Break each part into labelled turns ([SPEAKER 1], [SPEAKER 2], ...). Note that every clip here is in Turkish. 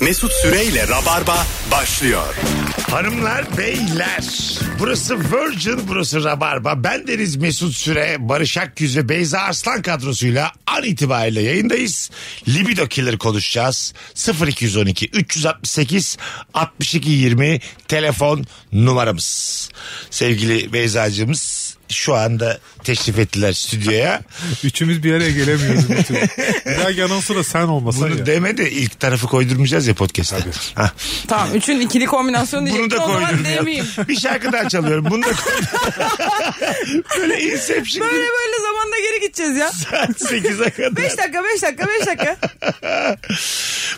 [SPEAKER 1] Mesut Süreyle Rabarba başlıyor.
[SPEAKER 2] Hanımlar, beyler. Burası Virgin, burası Rabarba. Ben Deniz Mesut Süre, Barış Akgüz ve Beyza Arslan kadrosuyla an itibariyle yayındayız. Libido Killer konuşacağız. 0212 368 62 20 telefon numaramız. Sevgili Beyza'cığımız şu anda teşrif ettiler stüdyoya.
[SPEAKER 3] Üçümüz bir araya gelemiyoruz. bir türlü. Bir dahaki anonsu da sen olmasan
[SPEAKER 2] Bunu
[SPEAKER 3] ya.
[SPEAKER 2] deme de ilk tarafı koydurmayacağız ya podcast'a. Ha,
[SPEAKER 4] Tamam üçün ikili kombinasyonu
[SPEAKER 2] Bunu da
[SPEAKER 4] diyecektim o zaman demeyeyim.
[SPEAKER 2] koydurmayalım. Bir şarkı daha çalıyorum. Bunu da koydurmayalım. Böyle Inception
[SPEAKER 4] Böyle
[SPEAKER 2] gibi
[SPEAKER 4] böyle zamanda geri gideceğiz ya.
[SPEAKER 2] saat 8'e kadar.
[SPEAKER 4] 5 dakika 5 dakika 5 dakika.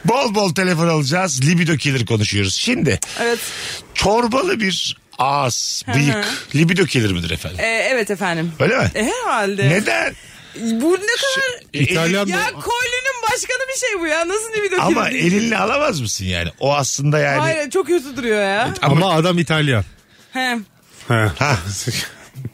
[SPEAKER 2] Bol bol telefon alacağız. Libido killer konuşuyoruz. Şimdi
[SPEAKER 4] Evet.
[SPEAKER 2] çorbalı bir ağız, bıyık. Libido killer midir efendim?
[SPEAKER 4] Ee, evet efendim.
[SPEAKER 2] Öyle mi?
[SPEAKER 4] E, herhalde.
[SPEAKER 2] Neden? E,
[SPEAKER 4] Bu ne kadar...
[SPEAKER 3] İtalyan
[SPEAKER 4] Ya
[SPEAKER 3] mı?
[SPEAKER 4] kolinin başkanı bir şey bu ya. Nasıl bir doküman
[SPEAKER 2] Ama
[SPEAKER 4] değil?
[SPEAKER 2] elinle alamaz mısın yani? O aslında yani.
[SPEAKER 4] Hayır çok kötü duruyor ya.
[SPEAKER 3] Ama adam İtalyan.
[SPEAKER 4] He.
[SPEAKER 3] He.
[SPEAKER 2] Ha,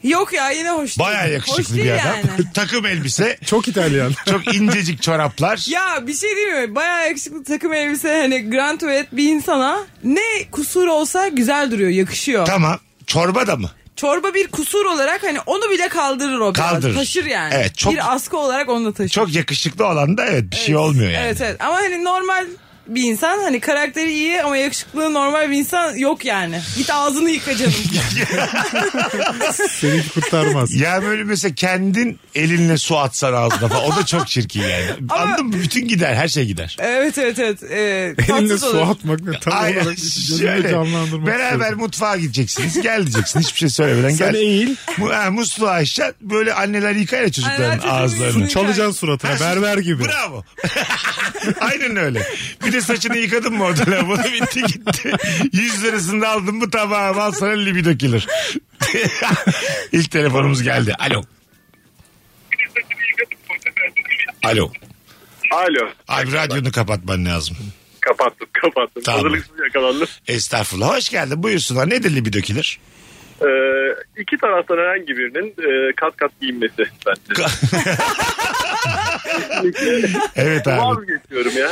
[SPEAKER 4] Yok ya yine hoş değil.
[SPEAKER 2] bayağı
[SPEAKER 4] hoş
[SPEAKER 2] yakışıklı
[SPEAKER 4] değil
[SPEAKER 2] bir adam.
[SPEAKER 4] Yani.
[SPEAKER 2] Takım elbise,
[SPEAKER 3] Çok İtalyan.
[SPEAKER 2] çok incecik çoraplar.
[SPEAKER 4] Ya bir şey diyeyim mi? Bayağı yakışıklı takım elbise hani grand tuvalet bir insana ne kusur olsa güzel duruyor, yakışıyor.
[SPEAKER 2] Tamam. Çorba da mı?
[SPEAKER 4] Çorba bir kusur olarak hani onu bile kaldırır o biraz.
[SPEAKER 2] Kaldırır.
[SPEAKER 4] Taşır yani.
[SPEAKER 2] Evet, çok-
[SPEAKER 4] Bir askı olarak onu da taşır.
[SPEAKER 2] Çok yakışıklı olan da evet bir şey olmuyor yani.
[SPEAKER 4] Evet evet ama hani normal bir insan hani karakteri iyi ama yakışıklığı normal bir insan yok yani. Git ağzını yıka canım.
[SPEAKER 3] Seninki kurtarmaz.
[SPEAKER 2] Ya böyle mesela kendin elinle su atsan ağzına falan. O da çok çirkin yani.
[SPEAKER 4] Ama-
[SPEAKER 2] Anladın mı? Bütün gider. Her şey gider.
[SPEAKER 4] evet evet evet. Ee,
[SPEAKER 3] Elinle
[SPEAKER 4] tatsız olur.
[SPEAKER 3] su atmak ne tam
[SPEAKER 2] Aynen.
[SPEAKER 3] olarak
[SPEAKER 2] Şöyle,
[SPEAKER 3] gözümde canlandırmak
[SPEAKER 2] beraber
[SPEAKER 3] istedim.
[SPEAKER 2] mutfağa gideceksiniz. Gel diyeceksin. Hiçbir şey söylemeden
[SPEAKER 3] Sen
[SPEAKER 2] gel.
[SPEAKER 3] eğil.
[SPEAKER 2] Mu, ha, musluğu aşağı. Böyle anneler yıkar ya çocukların
[SPEAKER 4] Anneler çocuğun
[SPEAKER 2] ağızlarını.
[SPEAKER 4] yüzünü-
[SPEAKER 3] Çalacaksın suratına berber gibi.
[SPEAKER 2] Bravo. Aynen öyle. Bir de saçını yıkadın mı orada lavabo bitti gitti. 100 lirasını da aldın mı tamam al sana libido killer. İlk telefonumuz geldi. Alo. Alo.
[SPEAKER 5] Alo.
[SPEAKER 2] Abi radyonu kapatman lazım.
[SPEAKER 5] Kapattım kapattım.
[SPEAKER 2] Tamam.
[SPEAKER 5] Hazırlıksız yakalandım.
[SPEAKER 2] Estağfurullah. Hoş geldin. Buyursunlar. Nedir libido killer?
[SPEAKER 5] Ee, iki taraftan herhangi birinin e, kat kat giyinmesi bence.
[SPEAKER 2] Evet abi.
[SPEAKER 5] Vazgeçiyorum ya.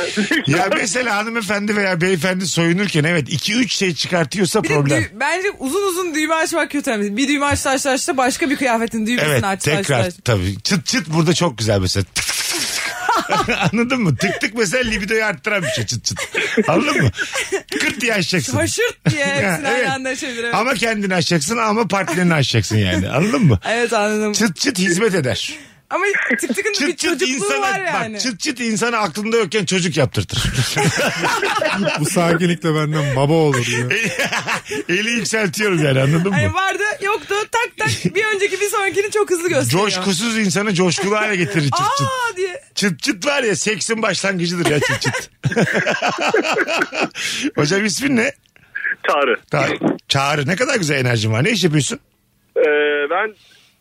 [SPEAKER 2] Ya mesela hanımefendi veya beyefendi soyunurken evet 2-3 şey çıkartıyorsa
[SPEAKER 4] Bir de
[SPEAKER 2] problem.
[SPEAKER 4] dü- bence uzun uzun düğme açmak kötü. önemli. Bir düğme açtı açtı açtı başka bir kıyafetin düğmesini
[SPEAKER 2] Evet
[SPEAKER 4] açtı açtı
[SPEAKER 2] tekrar
[SPEAKER 4] açtı.
[SPEAKER 2] tabii. Çıt çıt burada çok güzel mesela. Tık tık tık tık. Anladın mı? Tık tık mesela libidoyu arttıran bir şey çıt çıt. Anladın mı? Kırt diye açacaksın.
[SPEAKER 4] Haşırt diye
[SPEAKER 2] Ya,
[SPEAKER 4] hepsini
[SPEAKER 2] evet.
[SPEAKER 4] aynı anda açabilir. Evet.
[SPEAKER 2] Ama kendini açacaksın ama partnerini açacaksın yani. Anladın mı?
[SPEAKER 4] evet anladım.
[SPEAKER 2] Çıt çıt hizmet eder.
[SPEAKER 4] Ama tık tıkın da bir
[SPEAKER 2] Çıt çıt
[SPEAKER 4] çocukluğu
[SPEAKER 2] insana
[SPEAKER 4] var yani.
[SPEAKER 2] bak çıt çıt insana aklında yokken çocuk yaptırtır.
[SPEAKER 3] Bu sakinlikle benden baba olur ya.
[SPEAKER 2] Eli yükseltiyorum yani anladın mı?
[SPEAKER 4] Hani vardı yoktu tak tak bir önceki bir sonrakini çok hızlı gösteriyor.
[SPEAKER 2] Coşkusuz insanı coşkulu hale getirir çıt çıt.
[SPEAKER 4] Aa diye.
[SPEAKER 2] Çıt çıt var ya seksin başlangıcıdır ya çıt çıt. Hocam ismin ne?
[SPEAKER 5] Çağrı.
[SPEAKER 2] Ta- Çağrı ne kadar güzel enerjin var. Ne iş yapıyorsun?
[SPEAKER 5] Ee, ben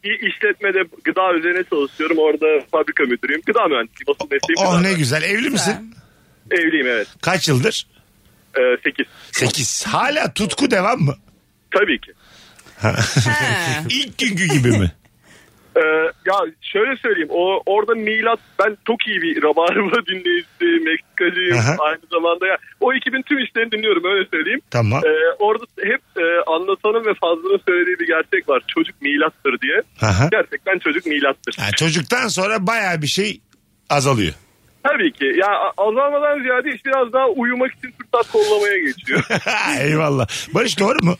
[SPEAKER 5] bir işletmede gıda üzerine çalışıyorum. Orada fabrika müdürüyüm. Gıda mühendisiyim. Asıl mesleğim
[SPEAKER 2] Oh
[SPEAKER 5] gıda
[SPEAKER 2] ne
[SPEAKER 5] mühendisi.
[SPEAKER 2] güzel. Evli misin?
[SPEAKER 5] Evliyim evet.
[SPEAKER 2] Kaç yıldır?
[SPEAKER 5] Ee, 8.
[SPEAKER 2] 8. Hala tutku devam mı?
[SPEAKER 5] Tabii ki.
[SPEAKER 4] He.
[SPEAKER 2] İlk günkü gibi mi?
[SPEAKER 5] Ee, ya şöyle söyleyeyim o orada milat ben çok iyi bir rabarba dinleyicisi Meksikacıyım
[SPEAKER 2] Aha.
[SPEAKER 5] aynı zamanda ya o ekibin tüm işlerini dinliyorum öyle söyleyeyim.
[SPEAKER 2] Tamam.
[SPEAKER 5] Ee, orada hep e, anlatanın ve fazlının söylediği bir gerçek var çocuk milattır diye.
[SPEAKER 2] Aha.
[SPEAKER 5] Gerçekten çocuk milattır.
[SPEAKER 2] Ha, çocuktan sonra baya bir şey azalıyor.
[SPEAKER 5] Tabii ki ya a- azalmadan ziyade iş biraz daha uyumak için fırsat kollamaya geçiyor.
[SPEAKER 2] Eyvallah. Barış doğru mu?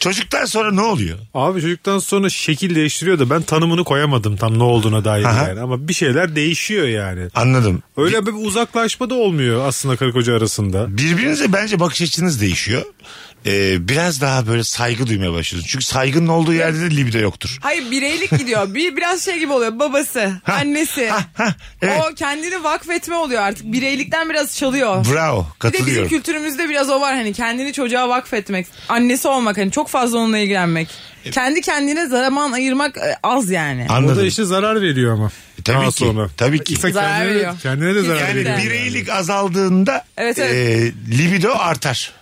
[SPEAKER 2] Çocuktan sonra ne oluyor?
[SPEAKER 3] Abi çocuktan sonra şekil değiştiriyor da ben tanımını koyamadım tam ne olduğuna dair
[SPEAKER 2] Aha.
[SPEAKER 3] yani. Ama bir şeyler değişiyor yani.
[SPEAKER 2] Anladım.
[SPEAKER 3] Öyle bir uzaklaşma da olmuyor aslında karı koca arasında.
[SPEAKER 2] Birbirinize bence bakış açınız değişiyor. Ee, biraz daha böyle saygı duymaya başlıyorsunuz. Çünkü saygının olduğu yerde de libido yoktur.
[SPEAKER 4] Hayır bireylik gidiyor. Bir biraz şey gibi oluyor. Babası, annesi.
[SPEAKER 2] ha, evet.
[SPEAKER 4] O kendini vakfetme oluyor artık. Bireylikten biraz çalıyor.
[SPEAKER 2] Bravo
[SPEAKER 4] bir de bizim
[SPEAKER 2] katılıyorum.
[SPEAKER 4] kültürümüzde biraz o var hani kendini çocuğa vakfetmek, annesi olmak hani çok fazla onunla ilgilenmek.
[SPEAKER 2] E-
[SPEAKER 4] Kendi kendine zaman ayırmak e, az yani.
[SPEAKER 3] O da
[SPEAKER 2] Anladım. E,
[SPEAKER 3] işte zarar veriyor ama.
[SPEAKER 2] Tabii
[SPEAKER 3] Daha
[SPEAKER 2] ki,
[SPEAKER 3] sonra.
[SPEAKER 2] tabii ki.
[SPEAKER 3] İşte
[SPEAKER 4] Zarar
[SPEAKER 3] kendine, de-
[SPEAKER 4] veriyor.
[SPEAKER 3] kendine de zarar
[SPEAKER 2] Yani
[SPEAKER 3] veriyor.
[SPEAKER 4] Kesinlikle.
[SPEAKER 2] bireylik azaldığında
[SPEAKER 4] Evet, evet.
[SPEAKER 2] e, libido artar.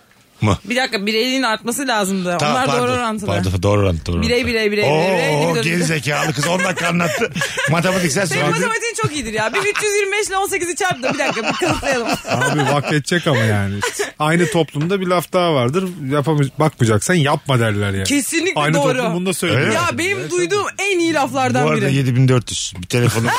[SPEAKER 2] mı?
[SPEAKER 4] Bir dakika bireyliğin artması lazımdı.
[SPEAKER 2] Tamam,
[SPEAKER 4] Onlar
[SPEAKER 2] pardon,
[SPEAKER 4] doğru orantılı.
[SPEAKER 2] Pardon doğru orantılı. doğru
[SPEAKER 4] Birey,
[SPEAKER 2] orantılı.
[SPEAKER 4] birey, birey, birey, birey,
[SPEAKER 2] Oo,
[SPEAKER 4] birey.
[SPEAKER 2] geri zekalı kız 10 dakika anlattı. Matematiksel
[SPEAKER 4] Senin
[SPEAKER 2] söyledi.
[SPEAKER 4] matematiğin çok iyidir ya. Bir 325 ile 18'i çarp da bir dakika bir kanıtlayalım.
[SPEAKER 3] Abi vakfedecek ama yani. İşte Aynı toplumda bir laf daha vardır. Yapamayacak bakmayacaksan yapma derler yani.
[SPEAKER 4] Kesinlikle
[SPEAKER 3] Aynı
[SPEAKER 4] doğru.
[SPEAKER 3] toplum bunu da söylüyor.
[SPEAKER 2] Öyle
[SPEAKER 4] ya benim duyduğum en iyi
[SPEAKER 2] Bu
[SPEAKER 4] laflardan
[SPEAKER 2] arada
[SPEAKER 4] biri.
[SPEAKER 2] 7400. Bir telefonum.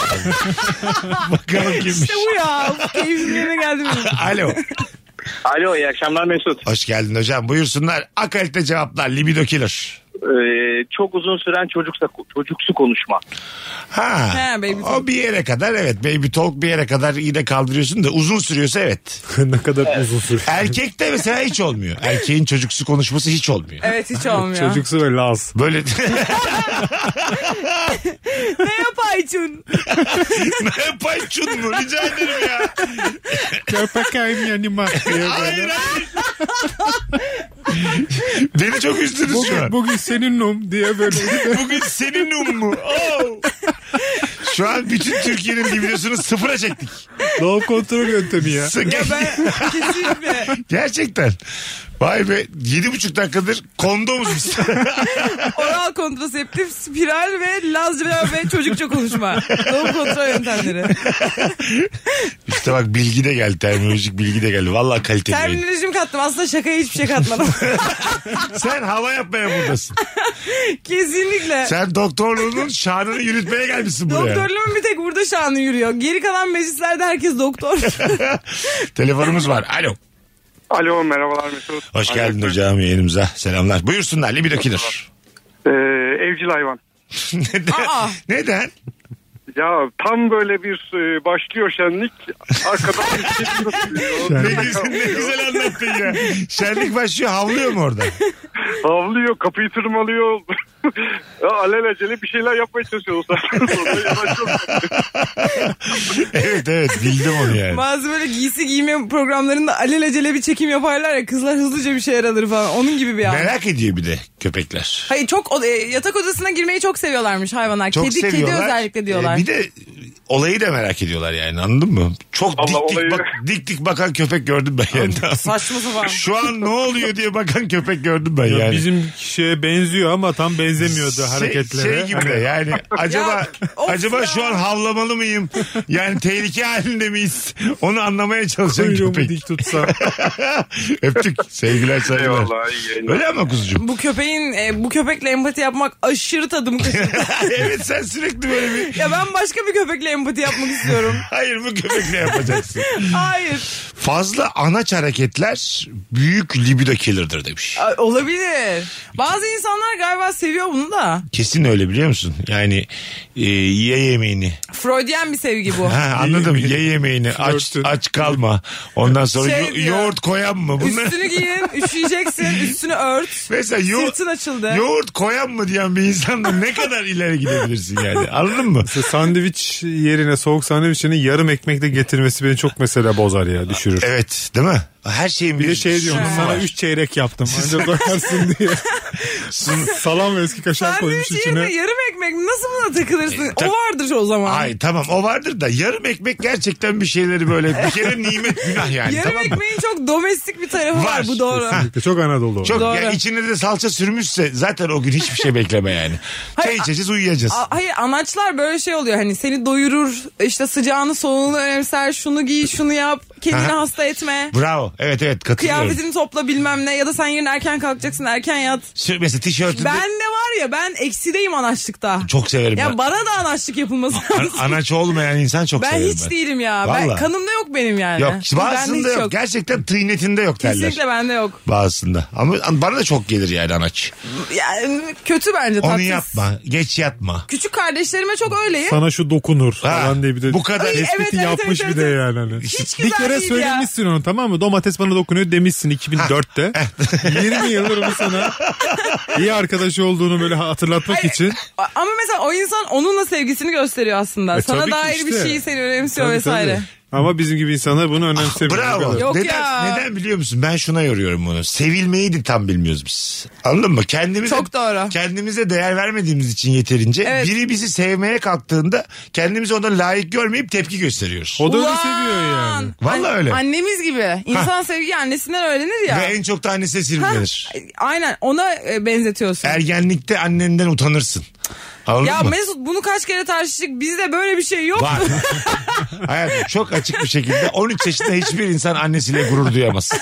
[SPEAKER 2] Bakalım kimmiş.
[SPEAKER 4] İşte bu ya. Uf, Keyfim yerine geldi benim.
[SPEAKER 2] Alo.
[SPEAKER 6] Alo iyi akşamlar Mesut.
[SPEAKER 2] Hoş geldin hocam. Buyursunlar. Akalite cevaplar. Libido killer.
[SPEAKER 6] Ee, çok uzun süren çocuksa çocuksu konuşma.
[SPEAKER 2] Ha.
[SPEAKER 4] He, baby
[SPEAKER 2] o
[SPEAKER 4] talk.
[SPEAKER 2] bir yere kadar evet. Baby talk bir yere kadar yine kaldırıyorsun da uzun sürüyorsa evet.
[SPEAKER 3] ne kadar uzun sürüyor.
[SPEAKER 2] Erkekte mesela hiç olmuyor. Erkeğin çocuksu konuşması hiç olmuyor.
[SPEAKER 4] Evet hiç olmuyor.
[SPEAKER 3] Çocuksu ve laz.
[SPEAKER 2] Böyle
[SPEAKER 4] Ne yapaysın?
[SPEAKER 2] ne yapayım şunu mu? Rica ederim ya.
[SPEAKER 3] Köpek ayım yanıma.
[SPEAKER 2] Hayır hayır. Beni çok üzdünüz şu an.
[SPEAKER 3] Bugün, bugün senin num diye böyle.
[SPEAKER 2] Bugün senin um mu? Oo. Şu an bütün Türkiye'nin libidyosunu sıfıra çektik.
[SPEAKER 3] Doğum kontrol yöntemi ya.
[SPEAKER 2] Sı-
[SPEAKER 4] Ben kesinlikle.
[SPEAKER 2] Gerçekten. Vay be. Yedi buçuk dakikadır kondomuz biz.
[SPEAKER 4] Oral kontraseptif, spiral ve lazca ve çocukça konuşma. Doğum kontrol yöntemleri.
[SPEAKER 2] işte bak bilgi de geldi. Terminolojik bilgi de geldi. Vallahi kaliteli. yayın.
[SPEAKER 4] Terminolojim kattım. Aslında şakaya hiçbir şey katmadım.
[SPEAKER 2] Sen hava yapmaya buradasın.
[SPEAKER 4] Kesinlikle.
[SPEAKER 2] Sen doktorluğunun şanını yürütmeye gelmişsin buraya.
[SPEAKER 4] Doktorluğun bir tek burada şanı yürüyor. Geri kalan meclislerde herkes doktor.
[SPEAKER 2] Telefonumuz var. Alo.
[SPEAKER 5] Alo merhabalar Mesut.
[SPEAKER 2] Hoş
[SPEAKER 5] Alo.
[SPEAKER 2] geldin hocam yayınımıza. Selamlar. Buyursunlar. Libido killer.
[SPEAKER 5] Ee, evcil hayvan.
[SPEAKER 2] Neden?
[SPEAKER 4] Aa.
[SPEAKER 2] Neden?
[SPEAKER 5] Ya tam böyle bir e, başlıyor şenlik. Arkadan bir şey
[SPEAKER 2] Ne,
[SPEAKER 5] geliyor.
[SPEAKER 2] güzel, ne güzel anlattın ya. Şenlik başlıyor. Havlıyor mu orada?
[SPEAKER 5] Havlıyor kapıyı tırmalıyor. ya, alelacele bir şeyler yapmaya çalışıyor. O saatten sonra yavaş yavaş.
[SPEAKER 2] Evet evet. Bildim onu yani.
[SPEAKER 4] Bazı böyle giysi giyme programlarında alelacele bir çekim yaparlar ya kızlar hızlıca bir şeyler alır falan. Onun gibi bir an.
[SPEAKER 2] Merak ediyor bir de köpekler.
[SPEAKER 4] Hayır çok o- e, yatak odasına girmeyi çok seviyorlarmış hayvanlar.
[SPEAKER 2] Çok
[SPEAKER 4] kedi kedi
[SPEAKER 2] seviyorlar.
[SPEAKER 4] özellikle diyorlar.
[SPEAKER 2] Ee, bir de olayı da merak ediyorlar yani anladın mı? Çok
[SPEAKER 5] Vallahi
[SPEAKER 2] dik, dik,
[SPEAKER 5] olayı-
[SPEAKER 2] bak, dik dik bakan köpek gördüm ben yani.
[SPEAKER 4] Saçma sapan.
[SPEAKER 2] Şu an ne oluyor diye bakan köpek gördüm ben
[SPEAKER 3] Ya
[SPEAKER 2] yani.
[SPEAKER 3] Bizim şeye benziyor ama tam benzemiyordu hareketlere.
[SPEAKER 2] Şey, şey gibi de
[SPEAKER 3] Hani-
[SPEAKER 2] yani acaba
[SPEAKER 4] of
[SPEAKER 2] acaba
[SPEAKER 4] ya.
[SPEAKER 2] şu an havlamalı mıyım? Yani tehlike halinde miyiz? Onu anlamaya çalışan
[SPEAKER 3] Kuyruğumu
[SPEAKER 2] köpek.
[SPEAKER 3] dik tutsam.
[SPEAKER 2] Öptük. Sevgiler saygılar.
[SPEAKER 5] Eyvallah, iyi yayınlar.
[SPEAKER 2] Öyle ama kuzucuğum?
[SPEAKER 4] Bu köpeğin e, bu köpekle empati yapmak aşırı tadım kaçırdı.
[SPEAKER 2] evet sen sürekli böyle bir
[SPEAKER 4] ya ben başka bir köpekle empati yapmak istiyorum.
[SPEAKER 2] hayır mı köpekle yapacaksın.
[SPEAKER 4] Hayır.
[SPEAKER 2] Fazla anaç hareketler büyük libido killer'dır demiş.
[SPEAKER 4] A- Olabilir. Bazı insanlar galiba seviyor bunu da.
[SPEAKER 2] Kesin öyle biliyor musun? Yani e, ye yemeğini.
[SPEAKER 4] Freudian bir sevgi bu.
[SPEAKER 2] Ha, anladım ye yemeğini. Aç
[SPEAKER 3] Flörtün.
[SPEAKER 2] aç kalma. Ondan sonra
[SPEAKER 4] Şey
[SPEAKER 2] yo-
[SPEAKER 4] diyor.
[SPEAKER 2] yoğurt koyan mı? Bunlar...
[SPEAKER 4] Üstünü giyin, üşüyeceksin, üstünü ört.
[SPEAKER 2] Mesela yo-
[SPEAKER 4] Sırtın açıldı.
[SPEAKER 2] yoğurt koyan mı diyen bir insanla ne kadar ileri gidebilirsin yani anladın mı?
[SPEAKER 3] Mesela sandviç yerine soğuk sandviç yerine yarım ekmek de getirmesi beni çok mesela bozar ya düşürür.
[SPEAKER 2] Evet değil mi? Her şeyin
[SPEAKER 3] Bir de şey diyorum
[SPEAKER 2] sunumu
[SPEAKER 3] sana
[SPEAKER 2] var.
[SPEAKER 3] 3 çeyrek yaptım anca doyarsın diye. Salam ve eski kaşar koymuş
[SPEAKER 4] Sandviç yerine
[SPEAKER 3] içine.
[SPEAKER 4] yarım ekmek nasıl buna takılırsın?
[SPEAKER 2] E, tak-
[SPEAKER 4] o vardır o zaman.
[SPEAKER 2] Ay tamam o vardır da yarım ekmek gerçekten bir şeyleri böyle bir kere nimet günah yani
[SPEAKER 4] yarım
[SPEAKER 2] tamam mı?
[SPEAKER 4] ekmeğin çok domestik bir tarafı var,
[SPEAKER 2] Var.
[SPEAKER 4] bu doğru.
[SPEAKER 3] Çok Anadolu.
[SPEAKER 2] Çok
[SPEAKER 4] Doğru.
[SPEAKER 2] ya içine de salça sürmüşse zaten o gün hiçbir şey bekleme yani. Çay içeceğiz uyuyacağız.
[SPEAKER 4] A- Hayır anaçlar böyle şey oluyor hani seni doyurur işte sıcağını soğuğunu önemser şunu giy şunu yap kendini
[SPEAKER 2] Aha.
[SPEAKER 4] hasta etme
[SPEAKER 2] Bravo. Evet evet katılıyorum.
[SPEAKER 4] kıyafetini topla bilmem ne ya da sen yarın erken kalkacaksın erken yat.
[SPEAKER 2] Sür- Mesela tişörtünde
[SPEAKER 4] Ben de var ya ben eksideyim anaçlıkta.
[SPEAKER 2] çok severim ben.
[SPEAKER 4] Ya bana da anaçlık yapılması lazım.
[SPEAKER 2] An- anaç olmayan insan çok
[SPEAKER 4] Ben
[SPEAKER 2] severim
[SPEAKER 4] hiç değilim ya. Ben,
[SPEAKER 2] şey, Vallahi.
[SPEAKER 4] kanımda yok benim yani.
[SPEAKER 2] Yok
[SPEAKER 4] Bende
[SPEAKER 2] bazısında
[SPEAKER 4] hiç
[SPEAKER 2] yok. Gerçekten tıynetinde yok derler.
[SPEAKER 4] Kesinlikle bende yok.
[SPEAKER 2] Bazısında. Ama bana da çok gelir yani anaç.
[SPEAKER 4] Yani kötü bence tatsız.
[SPEAKER 2] Onu yapma. Geç yatma.
[SPEAKER 4] Küçük kardeşlerime çok öyleyim.
[SPEAKER 3] Sana şu dokunur falan diye bir de
[SPEAKER 2] bu kadar.
[SPEAKER 4] Ay,
[SPEAKER 3] tespiti
[SPEAKER 4] evet, evet,
[SPEAKER 3] yapmış
[SPEAKER 4] evet,
[SPEAKER 3] bir de
[SPEAKER 4] evet.
[SPEAKER 3] yani. Hani.
[SPEAKER 4] Hiç
[SPEAKER 3] bir
[SPEAKER 4] güzel
[SPEAKER 3] kere
[SPEAKER 4] değil
[SPEAKER 3] söylemişsin onu tamam mı? Domates bana dokunuyor demişsin 2004'te. 20 yıldır onu sana iyi arkadaş olduğunu böyle hatırlatmak için.
[SPEAKER 4] A- Ama mesela o insan onunla sevgisini gösteriyor aslında.
[SPEAKER 3] E,
[SPEAKER 4] Sana
[SPEAKER 3] tabii ki
[SPEAKER 4] dair bir
[SPEAKER 3] işte.
[SPEAKER 4] şeyi seni önemsiyor
[SPEAKER 3] Tabii,
[SPEAKER 4] vesaire.
[SPEAKER 3] tabii. Ama bizim gibi insanlar bunu önemsemiyor. Bu
[SPEAKER 2] Bravo.
[SPEAKER 3] kadar.
[SPEAKER 4] Yok
[SPEAKER 2] neden,
[SPEAKER 4] ya.
[SPEAKER 2] neden biliyor musun? Ben şuna yoruyorum bunu. Sevilmeyi de tam bilmiyoruz biz. Anladın mı? Kendimize,
[SPEAKER 4] Çok doğru.
[SPEAKER 2] Kendimize değer vermediğimiz için yeterince.
[SPEAKER 4] Ah. Evet.
[SPEAKER 2] Biri bizi sevmeye kalktığında kendimizi ona layık görmeyip tepki gösteriyoruz.
[SPEAKER 3] O da öyle
[SPEAKER 4] Ulan!
[SPEAKER 3] seviyor yani.
[SPEAKER 2] Vallahi
[SPEAKER 4] An-
[SPEAKER 2] öyle.
[SPEAKER 4] Annemiz gibi. İnsan sevgi annesinden öğrenir ya.
[SPEAKER 2] Ve en çok da annesine
[SPEAKER 4] Ha,
[SPEAKER 2] sirkelenir.
[SPEAKER 4] Aynen ona e, benzetiyorsun.
[SPEAKER 2] Ergenlikte annenden utanırsın. Anladın
[SPEAKER 4] ya
[SPEAKER 2] mı?
[SPEAKER 4] Mesut bunu kaç kere tartıştık. Bizde böyle bir şey yok.
[SPEAKER 2] Var. Hayatım çok açık bir şekilde 13 yaşında hiçbir insan annesiyle gurur duyamaz.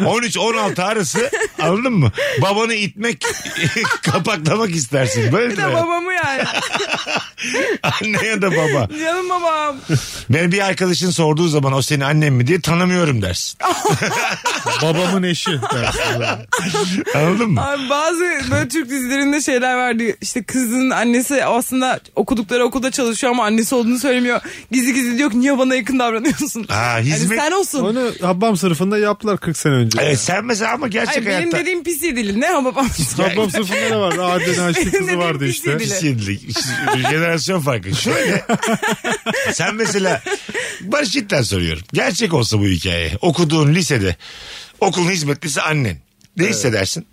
[SPEAKER 2] 13-16 arası anladın mı? Babanı itmek, kapaklamak istersin. Böyle
[SPEAKER 4] Bir
[SPEAKER 2] de
[SPEAKER 4] de babamı yani.
[SPEAKER 2] anne ya da baba.
[SPEAKER 4] Canım babam.
[SPEAKER 2] Benim bir arkadaşın sorduğu zaman o senin annen mi diye tanımıyorum dersin.
[SPEAKER 3] Babamın eşi dersin.
[SPEAKER 2] Anladın mı?
[SPEAKER 4] Abi bazı böyle Türk dizilerinde şeyler vardı. İşte kızın annesi aslında okudukları okulda çalışıyor ama annesi olduğunu söylemiyor. Gizli gizli diyor ki niye bana yakın davranıyorsun?
[SPEAKER 2] Ha,
[SPEAKER 4] Hani
[SPEAKER 2] hizmet-
[SPEAKER 4] sen olsun.
[SPEAKER 3] Onu Habbam sınıfında yaptılar 40 sene önce.
[SPEAKER 2] Ee, sen mesela ama gerçek
[SPEAKER 4] Ay, benim
[SPEAKER 2] hayatta...
[SPEAKER 4] dediğim pis yedili. Ne ama babam.
[SPEAKER 3] Habbam sınıfında ne vardı? Adem Aşık kızı
[SPEAKER 4] Benim
[SPEAKER 3] vardı
[SPEAKER 4] dediğim
[SPEAKER 3] işte.
[SPEAKER 4] pis
[SPEAKER 2] Cinsiyetlik. Jenerasyon farkı. Şöyle. sen mesela Barış cidden soruyorum. Gerçek olsa bu hikaye. Okuduğun lisede okulun hizmetlisi annen. Ne hissedersin?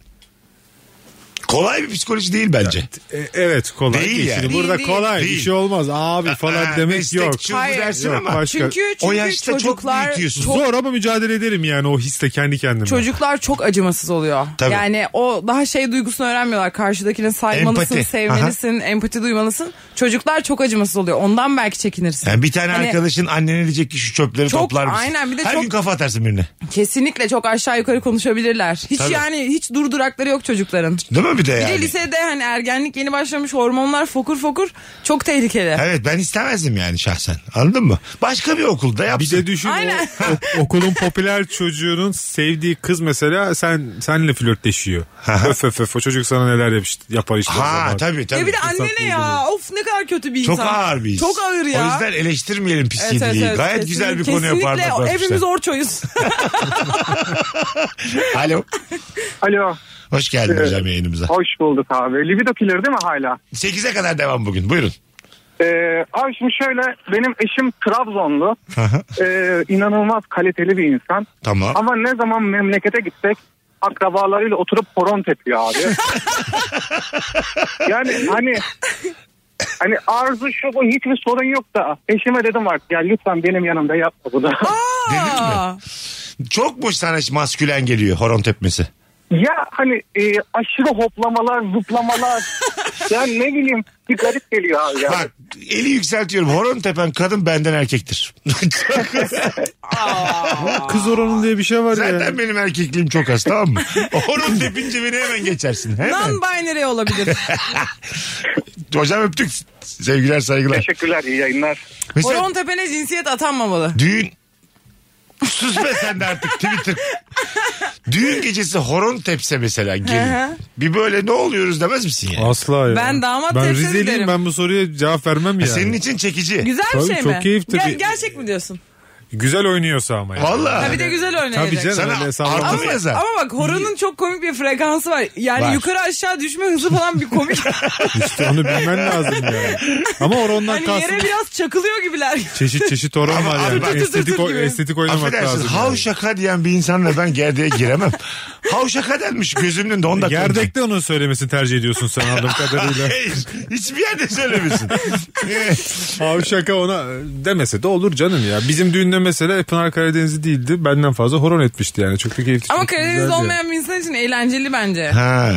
[SPEAKER 2] Kolay bir psikoloji değil bence.
[SPEAKER 3] E, evet kolay
[SPEAKER 2] Değil
[SPEAKER 3] değil.
[SPEAKER 2] yani.
[SPEAKER 3] Şimdi
[SPEAKER 4] Değil,
[SPEAKER 3] burada
[SPEAKER 4] değil.
[SPEAKER 3] kolay
[SPEAKER 2] Değil.
[SPEAKER 3] bir şey olmaz abi falan
[SPEAKER 2] Aa,
[SPEAKER 3] demek
[SPEAKER 2] destek
[SPEAKER 3] yok.
[SPEAKER 2] çığlığı
[SPEAKER 4] Hayır.
[SPEAKER 2] dersin
[SPEAKER 3] Yok,
[SPEAKER 2] ama.
[SPEAKER 3] başka.
[SPEAKER 4] Çünkü, çünkü
[SPEAKER 2] O yaşta çok
[SPEAKER 4] çocuklar
[SPEAKER 2] büyütüyorsun.
[SPEAKER 4] çok-
[SPEAKER 3] Zor ama mücadele ederim yani o hisle kendi kendime.
[SPEAKER 4] Çocuklar çok acımasız oluyor.
[SPEAKER 2] Tabii.
[SPEAKER 4] Yani o daha şey duygusunu öğrenmiyorlar. Karşıdakine saymalısın,
[SPEAKER 2] Empati.
[SPEAKER 4] sevmelisin, empati duymalısın. Çocuklar çok acımasız oluyor. Ondan belki çekinirsin.
[SPEAKER 2] Yani bir tane
[SPEAKER 4] Hani
[SPEAKER 2] arkadaşın annene diyecek ki şu çöpleri
[SPEAKER 4] Çok-
[SPEAKER 2] toplar mısın?
[SPEAKER 4] aynen, bir de
[SPEAKER 2] Her
[SPEAKER 4] çok-
[SPEAKER 2] gün kafa atarsın birine.
[SPEAKER 4] Kesinlikle çok aşağı yukarı konuşabilirler. Hiç
[SPEAKER 2] Tabii.
[SPEAKER 4] yani hiç durdurakları yok çocukların.
[SPEAKER 2] Değil mi bir de
[SPEAKER 4] Bir
[SPEAKER 2] yani?
[SPEAKER 4] de lisede hani ergenlik yeni başlamış hormonlar fokur fokur çok tehlikeli. E
[SPEAKER 2] Evet ben istemezdim yani şahsen. Anladın mı? Başka bir okulda
[SPEAKER 3] Bir
[SPEAKER 2] yapsın.
[SPEAKER 3] de düşün o-
[SPEAKER 4] Aynen.
[SPEAKER 3] o- okulun popüler çocuğunun sevdiği kız mesela sen senle flörtleşiyor. öf öf öf o çocuk sana neler yapış, yapar işte. o
[SPEAKER 2] Ha
[SPEAKER 3] zaman.
[SPEAKER 2] tabii tabii.
[SPEAKER 4] Ya E, bir de
[SPEAKER 3] Fırsat
[SPEAKER 4] annene ya of ne kadar kötü bir
[SPEAKER 2] Çok
[SPEAKER 4] insan.
[SPEAKER 2] ağır bir his.
[SPEAKER 4] Çok ağır ya.
[SPEAKER 2] O yüzden eleştirmeyelim pis
[SPEAKER 4] Evet, evet,
[SPEAKER 2] yediliği.
[SPEAKER 4] evet.
[SPEAKER 2] Gayet
[SPEAKER 4] Kesinlikle-
[SPEAKER 2] güzel bir konuya parmak
[SPEAKER 4] Kesinlikle
[SPEAKER 2] basmışlar.
[SPEAKER 4] hepimiz orçoyuz.
[SPEAKER 2] Alo.
[SPEAKER 6] Alo.
[SPEAKER 2] Hoş geldin
[SPEAKER 6] Evet.
[SPEAKER 2] hocam yayınımıza.
[SPEAKER 6] Hoş bulduk abi. Libido killer değil mi hala?
[SPEAKER 2] 8'e kadar devam bugün. Buyurun.
[SPEAKER 6] Ee, abi şimdi şöyle benim eşim Trabzonlu. Ee, inanılmaz kaliteli bir insan.
[SPEAKER 2] Tamam.
[SPEAKER 6] Ama ne zaman memlekete gitsek akrabalarıyla oturup horon tepiyor abi. yani hani hani arzu şu bu hiçbir sorun yok da eşime dedim artık ya lütfen benim yanımda yapma bunu.
[SPEAKER 4] Aa,
[SPEAKER 2] Çok mu sana maskülen geliyor horon tepmesi?
[SPEAKER 6] ya hani e, aşırı hoplamalar zıplamalar ya ne bileyim bir garip geliyor abi ya.
[SPEAKER 2] Bak eli yükseltiyorum. Horon tepen kadın benden erkektir.
[SPEAKER 3] Aa, Kız oranın diye bir şey var ya.
[SPEAKER 2] Zaten benim erkekliğim çok az tamam mı? Horon tepince beni hemen geçersin. Hemen.
[SPEAKER 4] non-binary olabilir.
[SPEAKER 2] Hocam öptük. Sevgiler saygılar.
[SPEAKER 6] Teşekkürler iyi yayınlar.
[SPEAKER 2] Mesela
[SPEAKER 4] Horon tepene cinsiyet atanmamalı.
[SPEAKER 2] düğün... Sus be sen de artık Twitter. Düğün gecesi horon tepse mesela
[SPEAKER 4] Hı
[SPEAKER 2] gelin.
[SPEAKER 4] hı.
[SPEAKER 2] bir böyle ne oluyoruz demez misin yani?
[SPEAKER 3] Asla ya.
[SPEAKER 4] Ben damat
[SPEAKER 3] Ben
[SPEAKER 4] tepsisi
[SPEAKER 3] Rizeliyim
[SPEAKER 4] derim.
[SPEAKER 3] ben bu soruya cevap vermem yani.
[SPEAKER 2] E, Senin için çekici.
[SPEAKER 4] Güzel bir
[SPEAKER 3] Tabii,
[SPEAKER 4] şey mi?
[SPEAKER 3] çok keyifli
[SPEAKER 4] Ger-
[SPEAKER 3] bir-
[SPEAKER 4] Gerçek mi diyorsun?
[SPEAKER 3] Güzel oynuyorsa ama yani.
[SPEAKER 2] Vallahi.
[SPEAKER 4] Ha bir de güzel oynayacak.
[SPEAKER 3] Tabii canım.
[SPEAKER 2] Sana
[SPEAKER 3] öyle hesaplamaz.
[SPEAKER 2] artı
[SPEAKER 4] Ama,
[SPEAKER 2] mı yazar?
[SPEAKER 4] ama bak horonun çok komik bir frekansı var. Yani
[SPEAKER 2] Var.
[SPEAKER 4] yukarı aşağı düşme hızı falan bir komik.
[SPEAKER 3] İşte onu bilmen lazım yani. Ama orondan
[SPEAKER 4] hani
[SPEAKER 3] kalsın.
[SPEAKER 4] yere biraz çakılıyor gibiler.
[SPEAKER 3] Çeşit çeşit oron
[SPEAKER 2] Ama
[SPEAKER 3] var
[SPEAKER 2] abi
[SPEAKER 3] yani.
[SPEAKER 2] bak-
[SPEAKER 3] estetik, o-
[SPEAKER 4] gibi.
[SPEAKER 3] estetik oynamak
[SPEAKER 2] Affedersin
[SPEAKER 3] lazım.
[SPEAKER 2] hav
[SPEAKER 3] yani.
[SPEAKER 2] şaka diyen bir insanla ben gerdeğe giremem. hav şaka denmiş gözümün de 10 dakika. önce.
[SPEAKER 3] Gerdekte onun söylemesini tercih ediyorsun sen anladığım kadarıyla.
[SPEAKER 2] Hayır. Hiçbir yerde söylemesin.
[SPEAKER 3] Havşaka ona demese de olur canım ya. Bizim düğünde mesela Pınar Karadeniz'i değildi. Benden fazla horon etmişti yani. Çok da keyifli.
[SPEAKER 4] Ama
[SPEAKER 3] çok
[SPEAKER 4] Karadeniz
[SPEAKER 3] güzeldi.
[SPEAKER 4] olmayan bir insan için eğlenceli bence.
[SPEAKER 2] ha.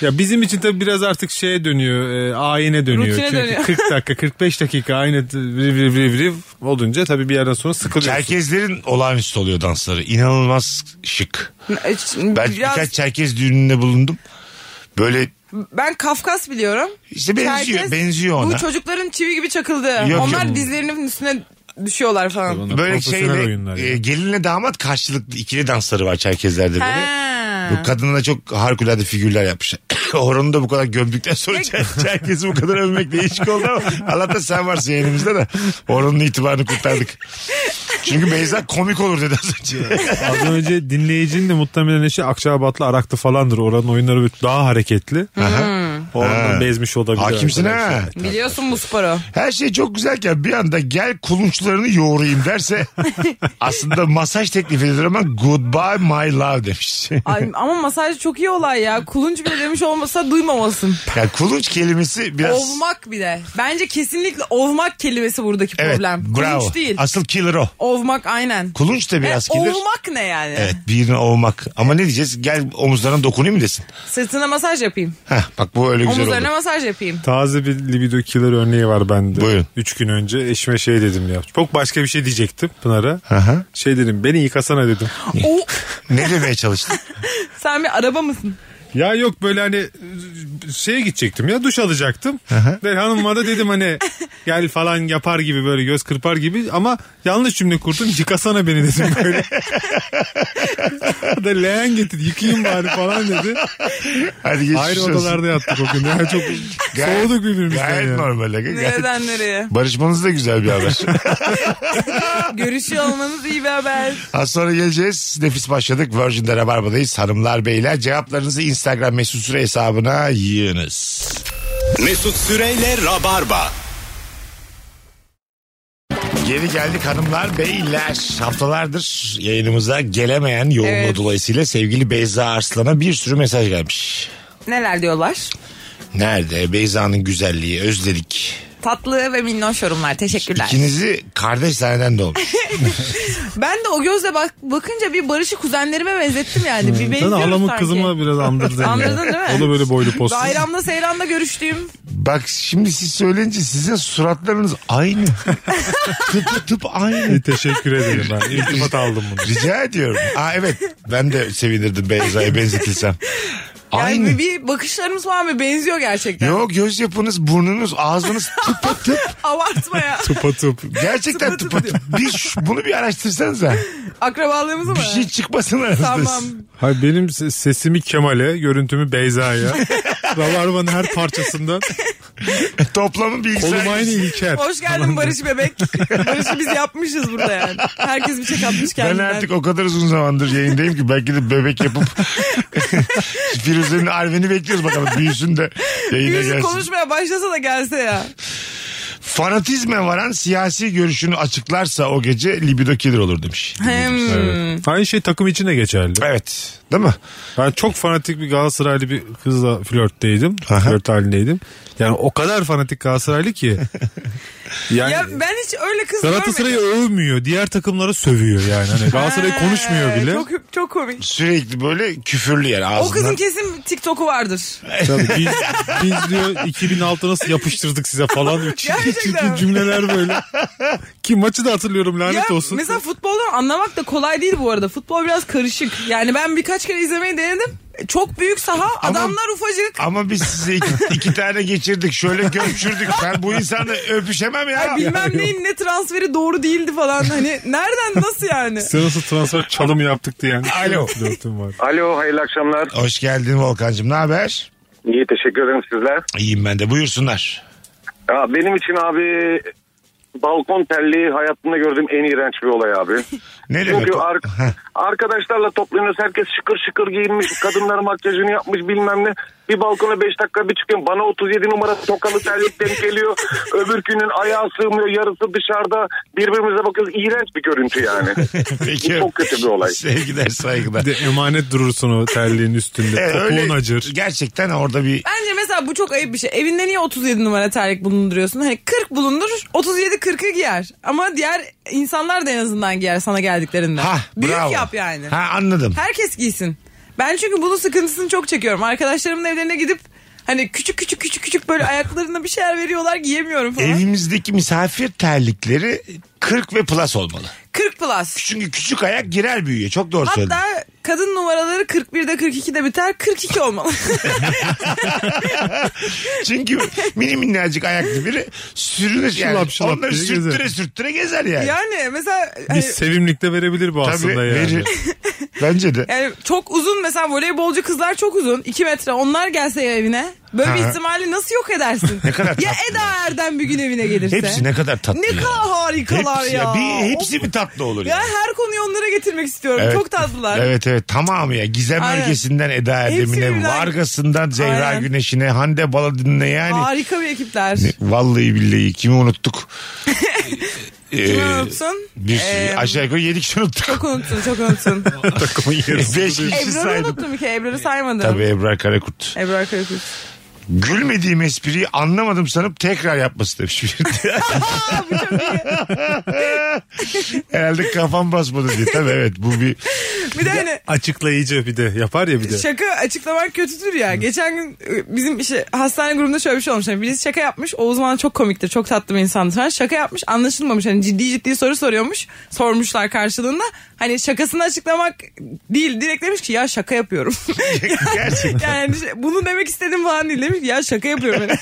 [SPEAKER 3] Ya bizim için tabii biraz artık şeye dönüyor. E, ayine dönüyor.
[SPEAKER 4] Rutine
[SPEAKER 3] Çünkü
[SPEAKER 4] dönüyor.
[SPEAKER 3] 40 dakika 45 dakika aynı t- vriv vriv vriv vriv olunca tabii bir yerden sonra sıkılıyorsun.
[SPEAKER 2] Çerkezlerin olağanüstü oluyor dansları. İnanılmaz şık.
[SPEAKER 4] e,
[SPEAKER 2] Ben
[SPEAKER 4] Ben,
[SPEAKER 2] birkaç Çerkez düğününde bulundum. Böyle
[SPEAKER 4] ben Kafkas biliyorum.
[SPEAKER 2] işte benziyor,
[SPEAKER 4] Herkes-
[SPEAKER 2] benziyor ona.
[SPEAKER 4] Bu çocukların çivi gibi çakıldı.
[SPEAKER 2] Yok,
[SPEAKER 4] Onlar
[SPEAKER 2] yok.
[SPEAKER 4] dizlerinin üstüne düşüyorlar falan.
[SPEAKER 3] Bunlar
[SPEAKER 2] Böyle
[SPEAKER 3] profesyonel
[SPEAKER 2] şeyle
[SPEAKER 3] oyunlar
[SPEAKER 2] e,
[SPEAKER 3] yani.
[SPEAKER 2] gelinle damat karşılıklı ikili dansları var Çerkezlerde böyle.
[SPEAKER 4] Ha.
[SPEAKER 2] Bu kadınla çok harikulade figürler yapmışlar. Horon'u da bu kadar gömdükten sonra Çer- Çerkez'i bu kadar övmek değişik oldu ama Allah'ta sen varsın yayınımızda da Horon'un itibarını kurtardık. Çünkü Beyza komik olur dedi az önce.
[SPEAKER 3] Az önce dinleyicinin de muhtemelen eşi Akçabatlı Araklı falandır. Oranın oyunları böyle daha hareketli.
[SPEAKER 2] Ha.
[SPEAKER 7] Oradan bezmiş olabilir.
[SPEAKER 2] Hakimsin
[SPEAKER 7] arkadaşlar.
[SPEAKER 2] ha.
[SPEAKER 4] Biliyorsun bu sporu.
[SPEAKER 2] Her şey çok güzelken bir anda gel kulunçlarını yoğurayım derse aslında masaj teklif edilir ama goodbye my love demiş.
[SPEAKER 4] Ay, ama masaj çok iyi olay ya. Kulunç bile demiş olmasa duymamalısın.
[SPEAKER 2] yani kulunç kelimesi biraz...
[SPEAKER 4] Ovmak bir de. Bence kesinlikle ovmak kelimesi buradaki
[SPEAKER 2] evet,
[SPEAKER 4] problem.
[SPEAKER 2] bravo.
[SPEAKER 4] Kulunç değil.
[SPEAKER 2] Asıl killer o.
[SPEAKER 4] ovmak aynen.
[SPEAKER 2] Kulunç da biraz
[SPEAKER 4] E,
[SPEAKER 2] killer.
[SPEAKER 4] Ovmak ne yani?
[SPEAKER 2] Evet birini ovmak. Ama ne diyeceğiz? Gel omuzlarına dokunayım mı desin?
[SPEAKER 4] Sırtına masaj yapayım.
[SPEAKER 2] Heh, bak bu öyle güzel
[SPEAKER 4] Omuzlarına
[SPEAKER 2] oldu.
[SPEAKER 4] masaj yapayım.
[SPEAKER 3] Taze bir libido killer örneği var bende.
[SPEAKER 2] Buyurun.
[SPEAKER 3] Üç gün önce eşime şey dedim ya. Çok başka bir şey diyecektim Pınar'a.
[SPEAKER 2] Aha.
[SPEAKER 3] Şey dedim beni yıkasana dedim.
[SPEAKER 4] o,
[SPEAKER 2] Ne demeye çalıştın?
[SPEAKER 4] sen bir araba mısın?
[SPEAKER 3] Ya yok böyle hani e, şeye gidecektim ya duş alacaktım. Ve hanıma da dedim hani gel falan yapar gibi böyle göz kırpar gibi ama yanlış cümle kurdum yıkasana beni dedim böyle. O da leğen getir yıkayayım bari falan dedi.
[SPEAKER 2] Hadi geçmiş
[SPEAKER 3] Ayrı
[SPEAKER 2] olsun.
[SPEAKER 3] odalarda yattık o gün. Yani çok
[SPEAKER 2] Gayet-
[SPEAKER 3] soğuduk birbirimizden
[SPEAKER 2] Gayet
[SPEAKER 3] yani.
[SPEAKER 2] normal. Gayet-
[SPEAKER 4] Nereden nereye?
[SPEAKER 2] Barışmanız da güzel bir haber.
[SPEAKER 4] Görüşüyor olmanız iyi bir haber.
[SPEAKER 2] Az sonra geleceğiz. Nefis başladık. Virgin'de Rabarba'dayız. Hanımlar beyler cevaplarınızı Instagram mesut süre hesabına yığınız.
[SPEAKER 1] Mesut Süreyle Rabarba.
[SPEAKER 2] Geri geldik hanımlar beyler. Haftalardır yayınımıza gelemeyen yoğunluğu
[SPEAKER 4] Evet.
[SPEAKER 2] dolayısıyla sevgili Beyza Arslan'a bir sürü mesaj gelmiş.
[SPEAKER 4] Neler diyorlar?
[SPEAKER 2] Nerede? Beyza'nın güzelliği, özledik.
[SPEAKER 4] Tatlı ve minnoş yorumlar. Teşekkürler.
[SPEAKER 2] İkinizi kardeş zanneden de olmuş.
[SPEAKER 4] Ben de o gözle bak bakınca bir Barış'ı kuzenlerime benzettim yani. Bir
[SPEAKER 3] Sen
[SPEAKER 4] benziyoruz
[SPEAKER 3] halamın
[SPEAKER 4] sanki.
[SPEAKER 3] kızıma biraz andırdın. ya.
[SPEAKER 4] Andırdın değil mi?
[SPEAKER 3] O da böyle boylu poslu.
[SPEAKER 4] Bayramda seyranda görüştüğüm
[SPEAKER 2] Bak şimdi siz söyleyince sizin suratlarınız aynı. tıp tıp aynı.
[SPEAKER 3] Teşekkür ederim ben. İltifat aldım bunu.
[SPEAKER 2] Rica ediyorum. Aa evet ben de sevinirdim Beyza'ya benzetilsem. Aynı.
[SPEAKER 4] Yani bir- bir bakışlarımız var mı? Benziyor gerçekten.
[SPEAKER 2] Yok göz yapınız, burnunuz, ağzınız tıpa tıp.
[SPEAKER 4] Abartma ya.
[SPEAKER 3] Patıp.
[SPEAKER 2] Gerçekten tıpa tıp. Bir, şu- bunu bir araştırsanıza.
[SPEAKER 4] Akrabalığımız mı?
[SPEAKER 2] Bir şey çıkmasın aranızda.
[SPEAKER 4] Tamam.
[SPEAKER 3] Hayır benim se- sesimi Kemal'e, görüntümü Beyza'ya. Rabarbanın her parçasında
[SPEAKER 2] Toplamı
[SPEAKER 3] kolum
[SPEAKER 2] bilgisayar.
[SPEAKER 3] aynı İlker.
[SPEAKER 4] Hoş geldin Barış Bebek. Barış'ı biz yapmışız burada yani. Herkes bir çek atmış
[SPEAKER 2] Ben
[SPEAKER 4] kendinden.
[SPEAKER 2] artık o kadar uzun zamandır yayındayım ki belki de bebek yapıp Firuze'nin Arven'i bekliyoruz bakalım büyüsün de yayına
[SPEAKER 4] Yüzü
[SPEAKER 2] gelsin.
[SPEAKER 4] konuşmaya başlasa da gelse ya.
[SPEAKER 2] Fanatizme varan siyasi görüşünü açıklarsa o gece libido killer olur demiş.
[SPEAKER 4] Hem
[SPEAKER 3] Evet. Aynı şey takım için de geçerli.
[SPEAKER 2] Evet değil mi?
[SPEAKER 3] Ben çok fanatik bir Galatasaraylı bir kızla flörtteydim.
[SPEAKER 2] Aha.
[SPEAKER 3] Flört halindeydim. Yani o kadar fanatik Galatasaraylı ki. Yani
[SPEAKER 4] ya ben hiç öyle kız
[SPEAKER 3] Galatasaray'ı
[SPEAKER 4] görmedim.
[SPEAKER 3] övmüyor. Diğer takımlara sövüyor yani. Hani Galatasaray
[SPEAKER 4] Ha,
[SPEAKER 3] konuşmuyor bile.
[SPEAKER 4] Çok, çok komik.
[SPEAKER 2] Sürekli böyle küfürlü yani ağzından.
[SPEAKER 4] O kızın kesin TikTok'u vardır.
[SPEAKER 3] Tabii biz, biz diyor 2006 nasıl yapıştırdık size falan. Çirkin
[SPEAKER 4] Gerçekten
[SPEAKER 3] çirkin
[SPEAKER 4] mi?
[SPEAKER 3] cümleler böyle. Ki maçı da hatırlıyorum
[SPEAKER 4] Ya
[SPEAKER 3] lanet olsun.
[SPEAKER 4] mesela futboldan anlamak da kolay değil bu arada. Futbol biraz karışık. Yani ben birkaç kere izlemeyi denedim. Çok büyük saha, adamlar ufacık.
[SPEAKER 2] Ama biz size iki, iki tane geçirdik. Şöyle görüşürdük. Ben bu insanla öpüşemem ya.
[SPEAKER 4] Ay bilmem neyin ne transferi doğru değildi falan. Hani nereden nasıl yani?
[SPEAKER 3] Size nasıl transfer çalımı yaptık diye. Yani.
[SPEAKER 2] Alo.
[SPEAKER 3] Flörtüm var.
[SPEAKER 5] Alo hayırlı akşamlar.
[SPEAKER 2] Hoş geldin Volkan'cığım. Ne haber?
[SPEAKER 5] İyi teşekkür ederim sizler.
[SPEAKER 2] İyiyim ben de. Buyursunlar.
[SPEAKER 5] Ya benim için abi balkon terliği hayatımda gördüğüm en iğrenç bir olay abi.
[SPEAKER 2] Ne demek
[SPEAKER 5] Çünkü
[SPEAKER 2] o?
[SPEAKER 5] ar- arkadaşlarla toplanıyoruz. Herkes şıkır şıkır giyinmiş. Kadınlar makyajını yapmış bilmem ne. Bir balkona 5 dakika bir çıkıyorum. Bana 37 numara tokalı terlik denk geliyor. Öbür günün ayağı sığmıyor. Yarısı dışarıda. Birbirimize bakıyoruz. İğrenç bir görüntü yani.
[SPEAKER 2] Peki.
[SPEAKER 5] Çok kötü bir olay.
[SPEAKER 2] Sevgiler saygılar.
[SPEAKER 3] Bir de emanet durursun o terliğin üstünde.
[SPEAKER 2] Evet,
[SPEAKER 3] Topuğun
[SPEAKER 2] E, öyle-
[SPEAKER 3] acır.
[SPEAKER 2] Gerçekten orada bir
[SPEAKER 4] Bence mesela bu çok ayıp bir şey. Evinde niye 37 numara terlik bulunduruyorsun? Hani 40 bulundur, 37 40'ı giyer. Ama diğer insanlar da en azından giyer sana geldiklerinde.
[SPEAKER 2] ha
[SPEAKER 4] Büyük
[SPEAKER 2] bravo.
[SPEAKER 4] yap yani.
[SPEAKER 2] Ha anladım.
[SPEAKER 4] Herkes giysin. Ben çünkü bunun sıkıntısını çok çekiyorum. Arkadaşlarımın evlerine gidip hani küçük küçük küçük küçük böyle ayaklarına bir şeyler veriyorlar giyemiyorum falan.
[SPEAKER 2] Evimizdeki misafir terlikleri 40 ve plus olmalı.
[SPEAKER 4] 40 plus.
[SPEAKER 2] Çünkü küçük ayak girer büyüye. Çok doğru söyledin.
[SPEAKER 4] Hatta kadın numaraları 41'de 42'de biter 42 olmalı.
[SPEAKER 2] Çünkü mini minnacık ayaklı biri sürünür yani.
[SPEAKER 3] Şılap şılap
[SPEAKER 2] Onları
[SPEAKER 3] diye
[SPEAKER 2] sürttüre
[SPEAKER 3] gezer.
[SPEAKER 2] sürttüre gezer yani.
[SPEAKER 4] yani mesela
[SPEAKER 3] Bir
[SPEAKER 4] hani
[SPEAKER 3] sevimlik de verebilir bu
[SPEAKER 2] Tabii
[SPEAKER 3] aslında yani.
[SPEAKER 2] verir. Bence de.
[SPEAKER 4] Yani çok uzun mesela voleybolcu kızlar çok uzun. 2 metre onlar gelse ya evine. Böyle bir
[SPEAKER 2] Ha.
[SPEAKER 4] ihtimali nasıl yok edersin?
[SPEAKER 2] Ne kadar
[SPEAKER 4] ya
[SPEAKER 2] tatlı
[SPEAKER 4] Eda Erdem bir gün evine gelirse.
[SPEAKER 2] Hepsi ne kadar tatlı.
[SPEAKER 4] Ne
[SPEAKER 2] ya.
[SPEAKER 4] kadar harikalar
[SPEAKER 2] Hepsi ya.
[SPEAKER 4] ya.
[SPEAKER 2] Bir, hepsi mi tatlı olur
[SPEAKER 4] Ya
[SPEAKER 2] ya?
[SPEAKER 4] her konuyu onlara getirmek istiyorum.
[SPEAKER 2] Evet.
[SPEAKER 4] Çok tatlılar.
[SPEAKER 2] Evet evet tamamı ya. Gizem
[SPEAKER 4] Aynen.
[SPEAKER 2] Ergesi'nden Eda
[SPEAKER 4] Hepsi
[SPEAKER 2] Erdem'ine,
[SPEAKER 4] birbirinden-
[SPEAKER 2] Vargas'ından Zehra
[SPEAKER 4] Aynen.
[SPEAKER 2] Güneş'ine, Hande Baladin'ine yani.
[SPEAKER 4] Harika bir ekipler.
[SPEAKER 2] Vallahi billahi kimi unuttuk?
[SPEAKER 4] Kimi
[SPEAKER 2] Ee,
[SPEAKER 4] unutsun?
[SPEAKER 2] Bir sürü-
[SPEAKER 4] Ee,
[SPEAKER 2] aşağı yukarı yedik kişi unuttuk.
[SPEAKER 4] Çok unuttun çok unuttun.
[SPEAKER 3] Takımın yarısı.
[SPEAKER 2] Beş kişi
[SPEAKER 4] Ebrar'ı
[SPEAKER 2] şey saydım.
[SPEAKER 4] unuttum ki Ebrar'ı saymadım.
[SPEAKER 2] Tabii Ebrar Karakurt.
[SPEAKER 4] Ebrar Karakurt.
[SPEAKER 2] Gülmediğim espriyi anlamadım sanıp tekrar yapması demiş. bir.
[SPEAKER 4] Aa, bu çok iyi.
[SPEAKER 2] Herhalde kafam basmadı diye. Tabii evet bu bir
[SPEAKER 4] Bir de hani
[SPEAKER 3] Açıklayıcı bir de yapar ya bir de.
[SPEAKER 4] şaka açıklamak kötüdür ya. Geçen gün e, bizim işte hastane grubunda şöyle bir şey olmuş. Yani birisi şaka yapmış. Oğuz bana çok komiktir. Çok tatlı bir insandır. falan. şaka yapmış anlaşılmamış. Hani ciddi ciddi soru soruyormuş. Sormuşlar karşılığında. Hani şakasını açıklamak değil. Direkt demiş ki ya şaka yapıyorum.
[SPEAKER 2] gerçek.
[SPEAKER 4] yani şey, bunu demek istedim falan değil. Demiş ki, ya şaka yapıyorum. Yani.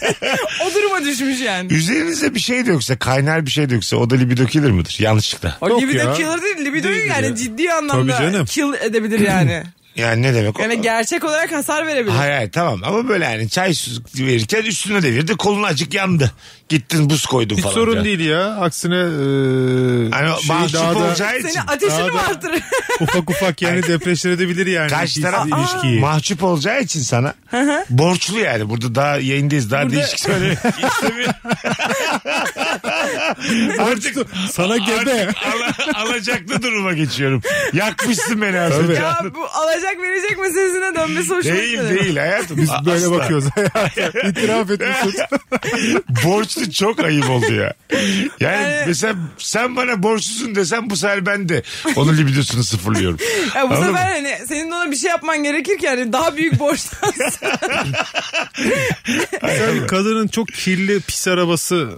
[SPEAKER 4] o duruma düşmüş yani.
[SPEAKER 2] Üzerinize bir şey de yoksa kaynar bir şey de yoksa o da libido killer mıdır? Yanlışlıkla.
[SPEAKER 4] O
[SPEAKER 3] Yok
[SPEAKER 4] libido
[SPEAKER 3] ya.
[SPEAKER 4] killer değil. Libidoyu
[SPEAKER 3] Değildir
[SPEAKER 4] yani
[SPEAKER 3] ya.
[SPEAKER 4] ciddi anlamda
[SPEAKER 3] Tabii canım.
[SPEAKER 4] kill edebilir yani.
[SPEAKER 2] Yani ne demek o?
[SPEAKER 4] Yani gerçek olarak hasar verebilir.
[SPEAKER 2] Hayır hayır tamam ama böyle yani çay su- verirken üstüne devirdi kolun acık yandı. Gittin buz koydun
[SPEAKER 3] Hiç
[SPEAKER 2] falan.
[SPEAKER 3] sorun
[SPEAKER 2] filan.
[SPEAKER 3] değil ya. Aksine e,
[SPEAKER 2] Hani
[SPEAKER 3] şeyi
[SPEAKER 2] mahcup
[SPEAKER 3] daha da
[SPEAKER 2] olacağı için.
[SPEAKER 4] Senin ateşini
[SPEAKER 3] Daha
[SPEAKER 4] mi
[SPEAKER 3] da-
[SPEAKER 4] arttırır?
[SPEAKER 3] ufak ufak yani depreştirebilir yani.
[SPEAKER 2] Karşı
[SPEAKER 3] İkisi-
[SPEAKER 2] taraf-
[SPEAKER 3] ilişkiyi.
[SPEAKER 2] Mahcup olacağı için sana borçlu yani. Burada daha yayındayız. Daha değişik söyle. artık
[SPEAKER 3] Sana gebe.
[SPEAKER 2] artık ala- alacaklı duruma geçiyorum. Yakmışsın beni artık.
[SPEAKER 4] ya bu alacak verecek meselesine dönmesi hoşuma
[SPEAKER 2] Değil
[SPEAKER 4] gitmedi.
[SPEAKER 2] değil hayatım.
[SPEAKER 3] Biz
[SPEAKER 2] A-
[SPEAKER 3] böyle
[SPEAKER 2] asla.
[SPEAKER 3] bakıyoruz hayata. İtiraf etmişiz.
[SPEAKER 2] Borçlu çok ayıp oldu ya. Yani,
[SPEAKER 4] Yani-
[SPEAKER 2] mesela sen bana borçlusun desem bu sefer ben de onun libidosunu sıfırlıyorum.
[SPEAKER 4] Ya bu
[SPEAKER 2] Anladın
[SPEAKER 4] sefer
[SPEAKER 2] mı?
[SPEAKER 4] hani senin de ona bir şey yapman gerekir ki hani daha büyük borçtan.
[SPEAKER 3] Yani kadının çok kirli pis arabası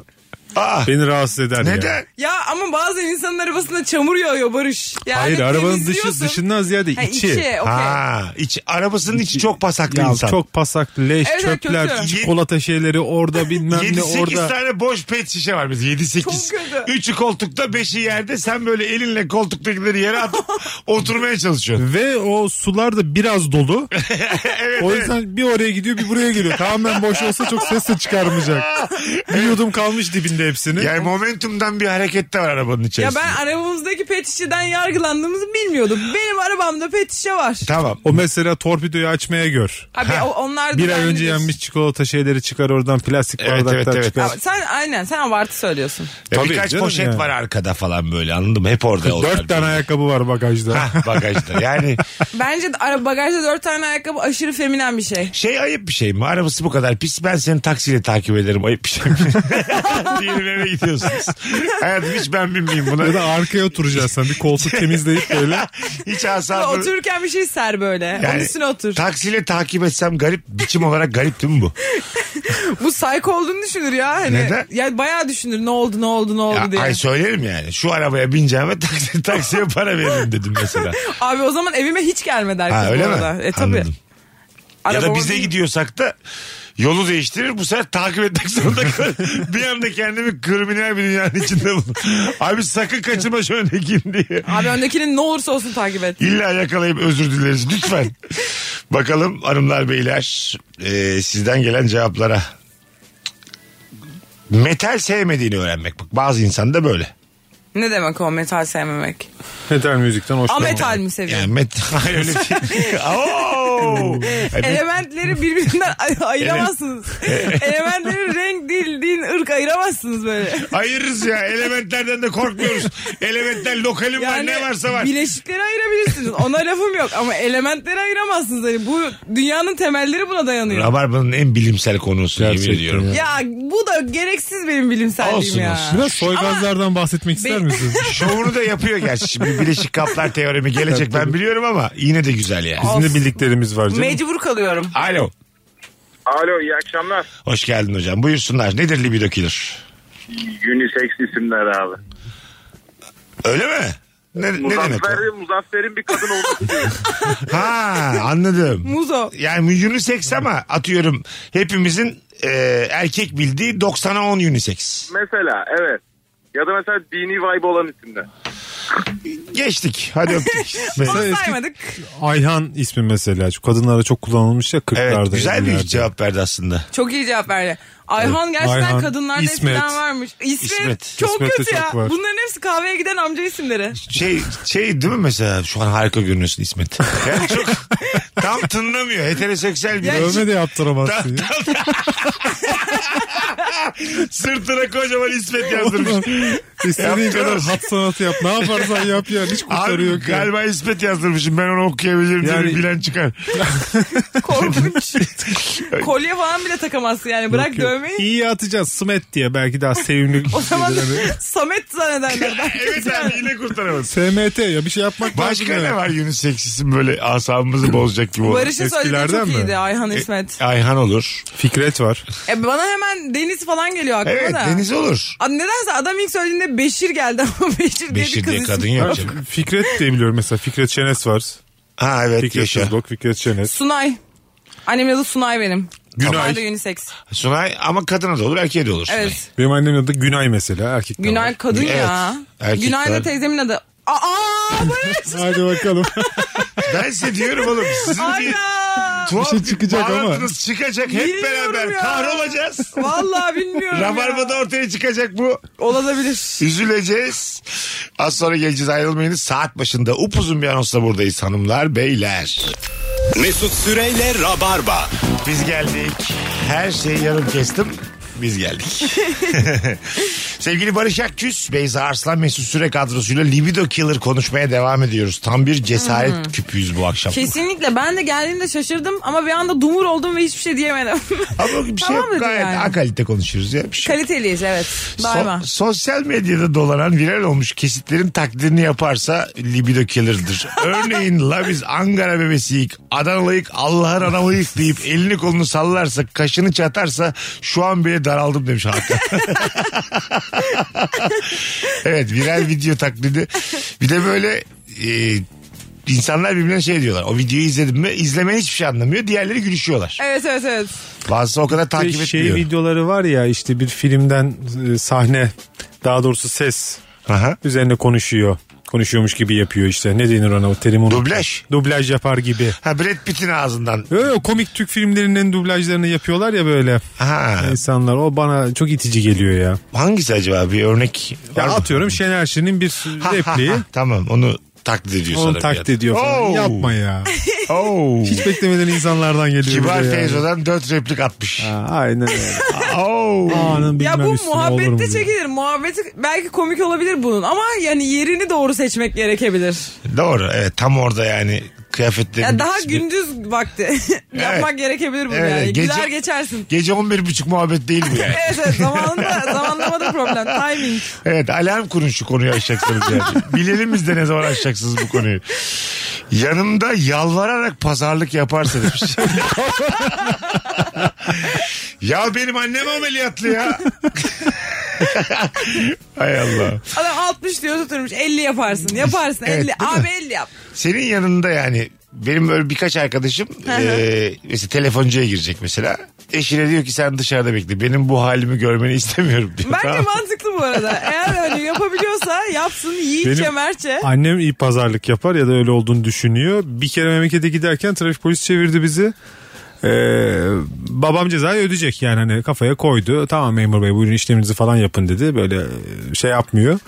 [SPEAKER 2] Aa,
[SPEAKER 3] beni rahatsız eder ya.
[SPEAKER 2] Ah, neden?
[SPEAKER 4] ya ama bazen insanın arabasında çamur yağıyor Barış. Yani
[SPEAKER 3] Hayır arabanın dışı
[SPEAKER 4] temizliyorsun.
[SPEAKER 3] dışından ziyade
[SPEAKER 4] Ha,
[SPEAKER 3] içi.
[SPEAKER 4] içi E, okey.
[SPEAKER 2] Ha, iç, arabasının içi çok pasaklı
[SPEAKER 3] Ya
[SPEAKER 2] insan.
[SPEAKER 3] çok pasak, leş,
[SPEAKER 4] Evet, evet,
[SPEAKER 3] çöpler,
[SPEAKER 4] kötü.
[SPEAKER 3] çikolata şeyleri orada bilmem ne
[SPEAKER 2] 7-8
[SPEAKER 3] orada.
[SPEAKER 2] tane boş pet şişe var biz 7-8.
[SPEAKER 4] Çok kötü.
[SPEAKER 2] Üçü koltukta 5'i yerde sen böyle elinle koltuktakileri yere atıp oturmaya çalışıyorsun.
[SPEAKER 3] Ve o sular da biraz dolu. o yüzden bir oraya gidiyor bir buraya geliyor. Tamamen boş olsa çok ses de çıkarmayacak. Bir yudum kalmış dibinde hepsini.
[SPEAKER 2] Yani momentumdan bir hareket de var arabanın
[SPEAKER 4] Ya
[SPEAKER 3] şey,
[SPEAKER 2] içerisinde.
[SPEAKER 4] ben arabamızdaki pet şişeden yargılandığımızı bilmiyordum. Benim arabamda pet şişe var.
[SPEAKER 2] Tamam.
[SPEAKER 3] O mesela torpidoyu açmaya gör.
[SPEAKER 4] Abi o- onlar da
[SPEAKER 3] Bir ay
[SPEAKER 4] bendedir.
[SPEAKER 3] önce yenmiş çikolata şeyleri çıkar oradan plastik
[SPEAKER 2] Evet,
[SPEAKER 3] bardaklar
[SPEAKER 2] evet, evet.
[SPEAKER 3] çıkar.
[SPEAKER 4] Ama sen aynen sen abartı söylüyorsun.
[SPEAKER 2] Ya
[SPEAKER 3] Tabii
[SPEAKER 2] E, birkaç
[SPEAKER 3] canım
[SPEAKER 2] poşet
[SPEAKER 3] yani.
[SPEAKER 2] var arkada falan böyle anladın mı? Hep orada onlar.
[SPEAKER 3] Dört tane ayakkabı var bagajda.
[SPEAKER 2] Hah, bagajda. Yani
[SPEAKER 4] Bence de ara- bagajda dört tane ayakkabı aşırı feminen bir şey.
[SPEAKER 2] şey ayıp bir şey mi? Arabası bu kadar pis. Ben seni taksiyle takip ederim. Ayıp bir şey mi? Diyelim eve gidiyorsunuz. Hayatım hiç ben binmeyeyim buna.
[SPEAKER 3] Ya da arkaya oturacaksın sen bir koltuk temizleyip böyle.
[SPEAKER 2] Hiç
[SPEAKER 4] Böyle
[SPEAKER 2] asabım.
[SPEAKER 4] Otururken bir şey ser böyle. Onun
[SPEAKER 2] Yani
[SPEAKER 4] üstüne otur.
[SPEAKER 2] Taksiyle takip etsem garip biçim olarak garip değil mi bu?
[SPEAKER 4] Bu psycho olduğunu düşünür ya. Hani,
[SPEAKER 2] Neden?
[SPEAKER 4] Yani bayağı düşünür ne oldu ne oldu ne oldu
[SPEAKER 2] Ya,
[SPEAKER 4] diye.
[SPEAKER 2] ay söylerim yani. Şu arabaya bineceğime taksi, taksiye para veririm dedim mesela.
[SPEAKER 4] Abi o zaman evime hiç gelme der.
[SPEAKER 2] Ha,
[SPEAKER 4] kız bu
[SPEAKER 2] öyle mi?
[SPEAKER 4] arada. E tabii.
[SPEAKER 2] Anladım. ya da
[SPEAKER 4] Arabama
[SPEAKER 2] bize
[SPEAKER 4] bin-
[SPEAKER 2] gidiyorsak da yolu değiştirir bu sefer takip etmek zorunda kalır. bir anda kendimi kriminal bir dünyanın içinde bulurum. Abi sakın kaçırma şu öndekini diye.
[SPEAKER 4] Abi öndekinin ne olursa olsun takip et.
[SPEAKER 2] İlla yakalayıp özür dileriz lütfen. Bakalım hanımlar beyler e, sizden gelen cevaplara. Metal sevmediğini öğrenmek. Bak bazı insan da böyle.
[SPEAKER 4] Ne demek o metal sevmemek?
[SPEAKER 3] Metal müzikten
[SPEAKER 4] A
[SPEAKER 3] hoşlanmam.
[SPEAKER 4] metal mi seviyor?
[SPEAKER 2] Yani met Hayır, öyle şey. değil. Oo! Yani met-
[SPEAKER 4] Elementleri birbirinden ay- ayıramazsınız. Elementleri renk, dil, din, ırk ayıramazsınız böyle.
[SPEAKER 2] Ayırırız ya. Elementlerden de korkmuyoruz. Elementler lokalim var ne varsa var.
[SPEAKER 4] bileşikleri ayırabilirsiniz. Ona lafım yok ama elementleri ayıramazsınız. Hani bu dünyanın temelleri buna dayanıyor.
[SPEAKER 2] Rabarbanın en bilimsel konusu yemin
[SPEAKER 3] Gerçekten
[SPEAKER 2] ediyorum.
[SPEAKER 3] ya.
[SPEAKER 4] Ya bu da gereksiz benim bilimselliğim
[SPEAKER 2] Olsun,
[SPEAKER 4] ya.
[SPEAKER 2] olsun.
[SPEAKER 3] Biraz soygazlardan bahsetmek ister
[SPEAKER 4] Be-
[SPEAKER 3] misiniz?
[SPEAKER 2] Şovunu da yapıyor gerçi. Şimdi bileşik kaplar teoremi gelecek ben biliyorum ama yine de güzel yani.
[SPEAKER 3] Bizim de bildiklerimiz var canım.
[SPEAKER 4] Mecbur kalıyorum.
[SPEAKER 2] Alo.
[SPEAKER 5] Alo iyi akşamlar.
[SPEAKER 2] Hoş geldin hocam. Buyursunlar. Nedir libido killer?
[SPEAKER 5] Unisex isimler abi.
[SPEAKER 2] Öyle mi? Ne, ne demek o?
[SPEAKER 5] Muzaffer, Muzaffer'in bir kadın olması diyor.
[SPEAKER 2] Ha anladım.
[SPEAKER 4] Muzo.
[SPEAKER 2] Yani unisex ama atıyorum hepimizin e, erkek bildiği 90'a 10 unisex.
[SPEAKER 5] mesela evet. Ya da mesela dini vibe olan isimler.
[SPEAKER 2] Geçtik. Hadi öptük.
[SPEAKER 4] Onu
[SPEAKER 3] Eski-
[SPEAKER 4] saymadık.
[SPEAKER 3] Ayhan ismi mesela. Şu kadınlara çok kullanılmış ya 40'larda.
[SPEAKER 2] evet güzel bir
[SPEAKER 3] 50'lerde.
[SPEAKER 2] cevap verdi aslında.
[SPEAKER 4] Çok iyi cevap verdi. Ayhan gerçekten
[SPEAKER 3] Ayhan,
[SPEAKER 4] kadınlarda
[SPEAKER 3] İsmet.
[SPEAKER 4] eskiden varmış. İsmet,
[SPEAKER 2] İsmet.
[SPEAKER 4] çok
[SPEAKER 3] İsmet'te
[SPEAKER 4] kötü ya.
[SPEAKER 3] çok var.
[SPEAKER 4] Bunların hepsi kahveye giden amca isimleri.
[SPEAKER 2] Şey şey değil mi mesela şu an harika görünüyorsun İsmet. Yani çok tam tınlamıyor. Heteroseksüel bir
[SPEAKER 3] Dövme de yaptıramazsın. ya.
[SPEAKER 2] Sırtına kocaman İsmet yazdırmış.
[SPEAKER 3] İstediğin
[SPEAKER 2] Yaptı.
[SPEAKER 3] kadar hat sanatı yap. Ne yaparsan yap ya. Hiç kurtarı
[SPEAKER 2] Abi
[SPEAKER 3] yok ya.
[SPEAKER 2] galiba İsmet yazdırmışım ben onu okuyabilirim diye
[SPEAKER 3] Yani-
[SPEAKER 2] bir bilen çıkar.
[SPEAKER 4] Korkunç. Kolye falan bile takamazsın yani. Bırak
[SPEAKER 3] Yok, yok.
[SPEAKER 4] dövmeyi.
[SPEAKER 3] İyi atacağız. Smet diye belki daha sevimli.
[SPEAKER 4] O zaman
[SPEAKER 3] gelir hani.
[SPEAKER 4] Samet zannederler. belki.
[SPEAKER 2] evet abi yine kurtaramaz.
[SPEAKER 3] SMT ya bir şey yapmak
[SPEAKER 2] Başka
[SPEAKER 3] lazım. ya.
[SPEAKER 2] ne var Yunus seksisin böyle asabımızı bozacak gibi olan? E,
[SPEAKER 4] Barış'ın söylediği
[SPEAKER 3] Eskilerden
[SPEAKER 4] çok
[SPEAKER 3] mi? E,
[SPEAKER 4] iyiydi Ayhan İsmet.
[SPEAKER 2] Ayhan olur.
[SPEAKER 3] Fikret var.
[SPEAKER 4] E, bana hemen Deniz falan geliyor aklıma
[SPEAKER 2] Evet
[SPEAKER 4] da.
[SPEAKER 2] Deniz olur.
[SPEAKER 4] Abi nedense adam ilk söylediğinde Beşir geldi ama
[SPEAKER 2] Beşir
[SPEAKER 4] Beşir, diye
[SPEAKER 2] diye
[SPEAKER 4] bir kız
[SPEAKER 2] kadın
[SPEAKER 4] ismi.
[SPEAKER 2] yok canım.
[SPEAKER 3] Fikret diye biliyorum mesela. Fikret Şenes var.
[SPEAKER 2] Ha evet
[SPEAKER 3] Fikret
[SPEAKER 2] yaşa.
[SPEAKER 3] Kızbok, Fikret Şenes.
[SPEAKER 4] Sunay. Annemin adı Sunay benim.
[SPEAKER 2] Günay.
[SPEAKER 4] Onlar da unisex.
[SPEAKER 2] Sunay ama kadına da olur erkeğe de olur. Sunay.
[SPEAKER 4] Evet.
[SPEAKER 3] Benim annemin adı Günay mesela. Erkek de
[SPEAKER 4] Günay
[SPEAKER 3] var.
[SPEAKER 4] kadın
[SPEAKER 2] Evet.
[SPEAKER 4] ya.
[SPEAKER 2] Erkek
[SPEAKER 4] Günay da
[SPEAKER 2] kadın.
[SPEAKER 4] teyzemin adı. Aa Barış.
[SPEAKER 3] Hadi bakalım.
[SPEAKER 2] Ben size diyorum oğlum sizin bir
[SPEAKER 4] Ayda.
[SPEAKER 2] tuhaf
[SPEAKER 3] Bir şey çıkacak ama.
[SPEAKER 2] bağlantınız çıkacak hep
[SPEAKER 4] Bilmiyorum
[SPEAKER 2] beraber
[SPEAKER 4] ya.
[SPEAKER 2] kahrolacağız.
[SPEAKER 4] Vallahi bilmiyorum
[SPEAKER 2] Rabarba'da
[SPEAKER 4] ya.
[SPEAKER 2] ortaya çıkacak bu.
[SPEAKER 4] Olabilir.
[SPEAKER 2] Üzüleceğiz. Az sonra geleceğiz ayrılmayınız. Saat başında upuzun bir anonsla buradayız hanımlar beyler.
[SPEAKER 1] Mesut Süreyle Rabarba.
[SPEAKER 2] Biz geldik. Her şeyi yarım kestim. Biz geldik. Sevgili Barış Akçüz, Beyza Arslan Mesut Süre kadrosuyla Libido Killer konuşmaya devam ediyoruz. Tam bir cesaret
[SPEAKER 4] Hmm.
[SPEAKER 2] küpüyüz bu akşam.
[SPEAKER 4] Kesinlikle ben de geldiğimde şaşırdım ama bir anda dumur oldum ve hiçbir şey diyemedim.
[SPEAKER 2] Ama bir şey
[SPEAKER 4] Tamam
[SPEAKER 2] yok.
[SPEAKER 4] dedi
[SPEAKER 2] Gayet
[SPEAKER 4] yani.
[SPEAKER 2] akalite konuşuyoruz ya. Bir şey yok.
[SPEAKER 4] Kaliteliyiz evet. Daima.
[SPEAKER 2] So- sosyal medyada dolanan viral olmuş kesitlerin taklidini yaparsa libido killer'dır. Örneğin la biz Ankara bebesiyik, Adanalıyık, Allah'ın anamıyık deyip elini kolunu sallarsa, kaşını çatarsa şu an bile daraldım demiş Hakan. evet viral video taklidi. Bir de böyle e, insanlar birbirine şey diyorlar. O videoyu izledim mi? İzlemeyen hiçbir şey anlamıyor. Diğerleri gülüşüyorlar.
[SPEAKER 4] Evet evet evet.
[SPEAKER 2] Bazısı o kadar
[SPEAKER 3] Bir
[SPEAKER 2] takip
[SPEAKER 3] şey
[SPEAKER 2] etmiyor.
[SPEAKER 3] videoları var ya işte bir filmden e, sahne daha doğrusu ses
[SPEAKER 2] Aha.
[SPEAKER 3] üzerine konuşuyor. Konuşuyormuş gibi yapıyor işte. Ne denir ona o terim unuttum.
[SPEAKER 2] Dublaj.
[SPEAKER 3] Dublaj yapar gibi.
[SPEAKER 2] Ha Brad Pitt'in ağzından.
[SPEAKER 3] Öyle komik Türk filmlerinin dublajlarını yapıyorlar ya böyle
[SPEAKER 2] Ha.
[SPEAKER 3] insanlar. O bana çok itici geliyor ya.
[SPEAKER 2] Hangisi acaba bir örnek? var
[SPEAKER 3] Ya
[SPEAKER 2] mı?
[SPEAKER 3] atıyorum Şener Şen'in bir
[SPEAKER 2] Ha, ha,
[SPEAKER 3] repliği.
[SPEAKER 2] ha. tamam onu taklit ediyor
[SPEAKER 3] Onu taklit ediyor falan.
[SPEAKER 2] Oo.
[SPEAKER 3] Yapma ya.
[SPEAKER 2] Oo.
[SPEAKER 3] Hiç beklemeden insanlardan geliyor. bir de
[SPEAKER 2] Kibar
[SPEAKER 3] yani.
[SPEAKER 2] Feyzo'dan dört replik atmış.
[SPEAKER 3] Ha, Aynen öyle.
[SPEAKER 2] Oo.
[SPEAKER 3] Anın
[SPEAKER 4] Ya
[SPEAKER 3] bilmem
[SPEAKER 4] bu
[SPEAKER 3] üstüne olur mu
[SPEAKER 4] muhabbette
[SPEAKER 3] diye.
[SPEAKER 4] çekilir. Muhabbeti belki komik olabilir bunun ama yani yerini doğru seçmek gerekebilir.
[SPEAKER 2] Doğru evet tam orada yani kıyafetlerin.
[SPEAKER 4] Ya daha
[SPEAKER 2] bitkisini-
[SPEAKER 4] gündüz vakti yapmak gerekebilir bunu
[SPEAKER 2] Evet,
[SPEAKER 4] yani.
[SPEAKER 2] gece-
[SPEAKER 4] Güler geçersin.
[SPEAKER 2] Gece 11 buçuk muhabbet değil mi yani?
[SPEAKER 4] Evet evet zamanında zamanlamada problem. Timing.
[SPEAKER 2] evet alarm kurun şu konuyu açacaksınız yani. Bilelim biz de ne zaman açacaksınız bu konuyu. Yanımda yalvararak pazarlık yaparsa demiş. ya benim annem ameliyatlı ya. Hay Allah.
[SPEAKER 4] Adam 60 diyor tutturmuş 50 yaparsın. Yaparsın
[SPEAKER 2] Evet,
[SPEAKER 4] 50.
[SPEAKER 2] değil mi?
[SPEAKER 4] Abi 50 yap.
[SPEAKER 2] Senin yanında yani benim böyle birkaç arkadaşım e, mesela telefoncuya girecek mesela. Eşine diyor ki sen dışarıda bekle. Benim bu halimi görmeni istemiyorum diyor.
[SPEAKER 4] Bence
[SPEAKER 2] Tamam.
[SPEAKER 4] mantıklı bu arada. Eğer öyle yapabiliyorsa yapsın yiğitçe
[SPEAKER 3] Benim-
[SPEAKER 4] mertçe.
[SPEAKER 3] Annem iyi pazarlık yapar ya da öyle olduğunu düşünüyor. Bir kere memlekete giderken trafik polisi çevirdi bizi. Ee, babam cezayı ödeyecek yani hani kafaya koydu. Tamam memur bey buyurun işleminizi falan yapın dedi. Böyle e, şey yapmıyor.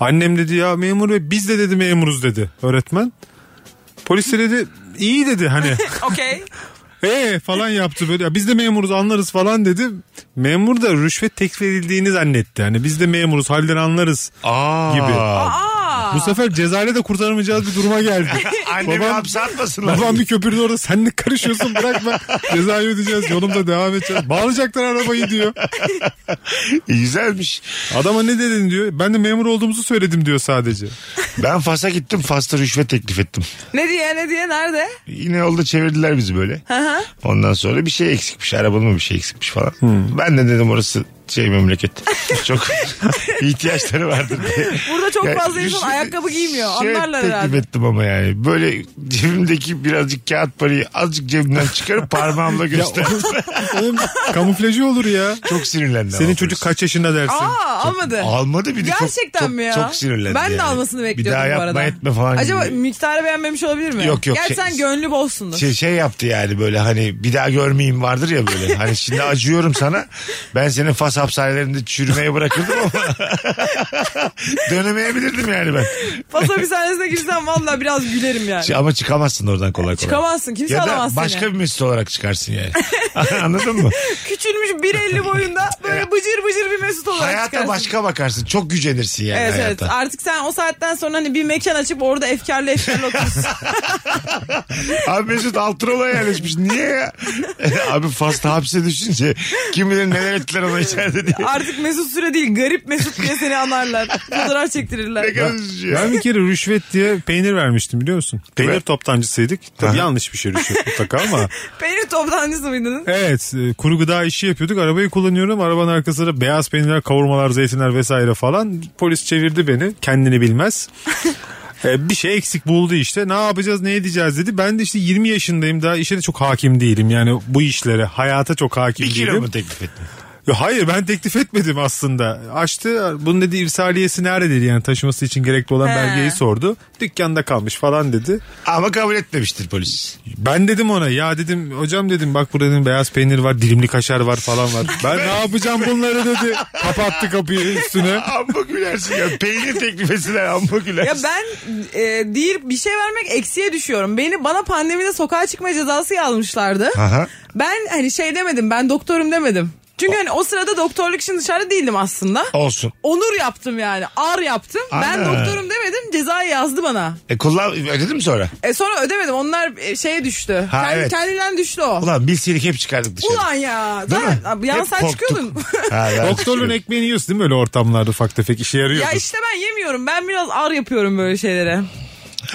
[SPEAKER 3] Annem dedi ya memur bey biz de dedi memuruz dedi öğretmen. Polis de dedi iyi dedi hani
[SPEAKER 4] Okey.
[SPEAKER 3] ee falan yaptı böyle. Ya biz de memuruz anlarız falan dedi. Memur da rüşvet teklif edildiğini zannetti. Hani biz de memuruz halden anlarız.
[SPEAKER 2] Aa.
[SPEAKER 3] Gibi.
[SPEAKER 4] Aa.
[SPEAKER 3] Bu sefer cezayla de kurtaramayacağız bir duruma geldi.
[SPEAKER 2] Annemi
[SPEAKER 3] Babam-
[SPEAKER 2] hapse atmasınlar.
[SPEAKER 3] Babam bir köpürdü orada sen ne karışıyorsun bırakma. Cezayı ödeyeceğiz yolumda devam edeceğiz. Bağlayacaklar arabayı diyor.
[SPEAKER 2] E, Güzelmiş.
[SPEAKER 3] Adama ne dedin diyor. Ben de memur olduğumuzu söyledim diyor sadece.
[SPEAKER 2] Ben Fas'a gittim. Fas'ta rüşvet teklif ettim.
[SPEAKER 4] Ne diye ne diye nerede?
[SPEAKER 2] Yine yolda çevirdiler bizi böyle. Ondan sonra bir şey eksikmiş. Arabanın mı bir şey eksikmiş falan. Ben de dedim orası şey memleket. Çok ihtiyaçları vardır diye.
[SPEAKER 4] Burada çok
[SPEAKER 2] Yani
[SPEAKER 4] fazla
[SPEAKER 2] rüşvet-
[SPEAKER 4] insan ayakkabı giymiyor.
[SPEAKER 2] Şey
[SPEAKER 4] Anlarlar
[SPEAKER 2] teklif
[SPEAKER 4] herhalde.
[SPEAKER 2] ettim ama yani. Böyle böyle cebimdeki birazcık kağıt parayı azıcık cebimden çıkarıp parmağımla gösterdim.
[SPEAKER 3] Oğlum kamuflajı olur ya.
[SPEAKER 2] Çok sinirlendim.
[SPEAKER 3] Senin çocuk kaç yaşında dersin.
[SPEAKER 4] Aa almadı.
[SPEAKER 2] Almadı bir de çok-
[SPEAKER 4] Gerçekten
[SPEAKER 2] çok,
[SPEAKER 4] mi ya?
[SPEAKER 2] Çok sinirlendi
[SPEAKER 4] Ben de
[SPEAKER 2] yani.
[SPEAKER 4] almasını
[SPEAKER 2] Bir
[SPEAKER 4] bekliyordum
[SPEAKER 2] daha
[SPEAKER 4] bu
[SPEAKER 2] yapma
[SPEAKER 4] arada.
[SPEAKER 2] etme falan
[SPEAKER 4] Acaba
[SPEAKER 2] gibi.
[SPEAKER 4] miktarı beğenmemiş olabilir mi?
[SPEAKER 2] Yok, yok.
[SPEAKER 4] Gerçi sen
[SPEAKER 2] Şey-
[SPEAKER 4] gönlü bolsundur.
[SPEAKER 2] şey, şey yaptı yani böyle hani bir daha görmeyeyim vardır ya böyle. Hani şimdi acıyorum sana. Ben senin Fas hapishanelerinde çürümeye bırakırdım ama dönemeyebilirdim yani ben.
[SPEAKER 4] Paso bir sahnesine girsen valla biraz gülerim yani.
[SPEAKER 2] Ç- Ama çıkamazsın oradan kolay kolay.
[SPEAKER 4] Çıkamazsın kimse
[SPEAKER 2] Ya da
[SPEAKER 4] alamaz
[SPEAKER 2] başka
[SPEAKER 4] seni.
[SPEAKER 2] bir mesut olarak çıkarsın yani. Anladın mı?
[SPEAKER 4] Küçülmüş 1.50 boyunda böyle bıcır bıcır bir mesut olarak
[SPEAKER 2] Hayata
[SPEAKER 4] çıkarsın.
[SPEAKER 2] başka bakarsın. Çok gücenirsin yani
[SPEAKER 4] Evet evet
[SPEAKER 2] hayata.
[SPEAKER 4] artık sen o saatten sonra hani bir mekan açıp orada efkarlı efkarlı oturursun.
[SPEAKER 2] Abi Mesut Altırola yerleşmiş. Niye ya? Abi Fas'ta hapse düşünce kim bilir neler ettiler ona içeride diye.
[SPEAKER 4] artık mesut süre değil garip mesut diye seni anarlar. Fotoğraf çektirirler.
[SPEAKER 2] Ne kadar üzücü ya.
[SPEAKER 3] Ben bir kere rüşvet diye peynir vermiştim biliyor musun? Peynir toptancısıydık. Tabii
[SPEAKER 2] Aha.
[SPEAKER 3] yanlış bir şey rüşvet mutlaka ama.
[SPEAKER 4] Peynir toptancısı mıydın?
[SPEAKER 3] Evet e, kuru gıda işi yapıyorduk. Arabayı kullanıyorum. Arabanın arkasında beyaz peynirler, kavurmalar, zeytinler vesaire falan. Polis çevirdi beni. Kendini bilmez. E, bir şey eksik buldu işte. Ne yapacağız, ne edeceğiz dedi. Ben de işte 20 yaşındayım. Daha işe de çok hakim değilim. Yani bu işlere, hayata çok hakim
[SPEAKER 2] Bir kilo
[SPEAKER 3] değilim.
[SPEAKER 2] mu teklif ettin?
[SPEAKER 3] Ya hayır ben teklif etmedim aslında. Açtı bunun dedi irsaliyesi nerede dedi yani taşıması için gerekli olan
[SPEAKER 4] He.
[SPEAKER 3] belgeyi sordu. Dükkanda kalmış falan dedi.
[SPEAKER 2] Ama kabul etmemiştir polis.
[SPEAKER 3] Ben dedim ona ya dedim hocam dedim bak burada dedim beyaz peynir var dilimli kaşar var falan var. Ben ne yapacağım bunları dedi. Kapattı kapıyı üstüne.
[SPEAKER 2] Amma gülersin ya. Peynir teklif etsinler amma
[SPEAKER 4] Ya
[SPEAKER 2] gülersin.
[SPEAKER 4] ben e, değil bir şey vermek eksiye düşüyorum. Beni bana pandemide sokağa çıkma cezası yazmışlardı.
[SPEAKER 2] Aha.
[SPEAKER 4] Ben hani şey demedim ben doktorum demedim. Çünkü hani o sırada doktorluk için dışarı değildim aslında.
[SPEAKER 2] Olsun.
[SPEAKER 4] Onur yaptım yani. Ar yaptım. Ben
[SPEAKER 2] Ana.
[SPEAKER 4] doktorum demedim. Cezayı yazdı bana.
[SPEAKER 2] E kullan ödedin mi sonra?
[SPEAKER 4] E sonra ödemedim. Onlar e, şeye düştü.
[SPEAKER 2] Ha,
[SPEAKER 4] Kendi-
[SPEAKER 2] evet.
[SPEAKER 4] Kendinden düştü o. Ulan,
[SPEAKER 2] Ulan bilseydik hep çıkardık dışarı.
[SPEAKER 4] ya.
[SPEAKER 2] Değil mi?
[SPEAKER 4] Zaten, yan
[SPEAKER 2] Hep
[SPEAKER 4] sen
[SPEAKER 2] korktuk.
[SPEAKER 4] çıkıyordun.
[SPEAKER 2] Ha, ben
[SPEAKER 3] Doktorun
[SPEAKER 2] çıkıyorum.
[SPEAKER 3] ekmeğini yiyorsun değil mi öyle ortamlarda ufak tefek işe yarıyor.
[SPEAKER 4] ya işte ben yemiyorum. Ben biraz ar yapıyorum böyle şeylere.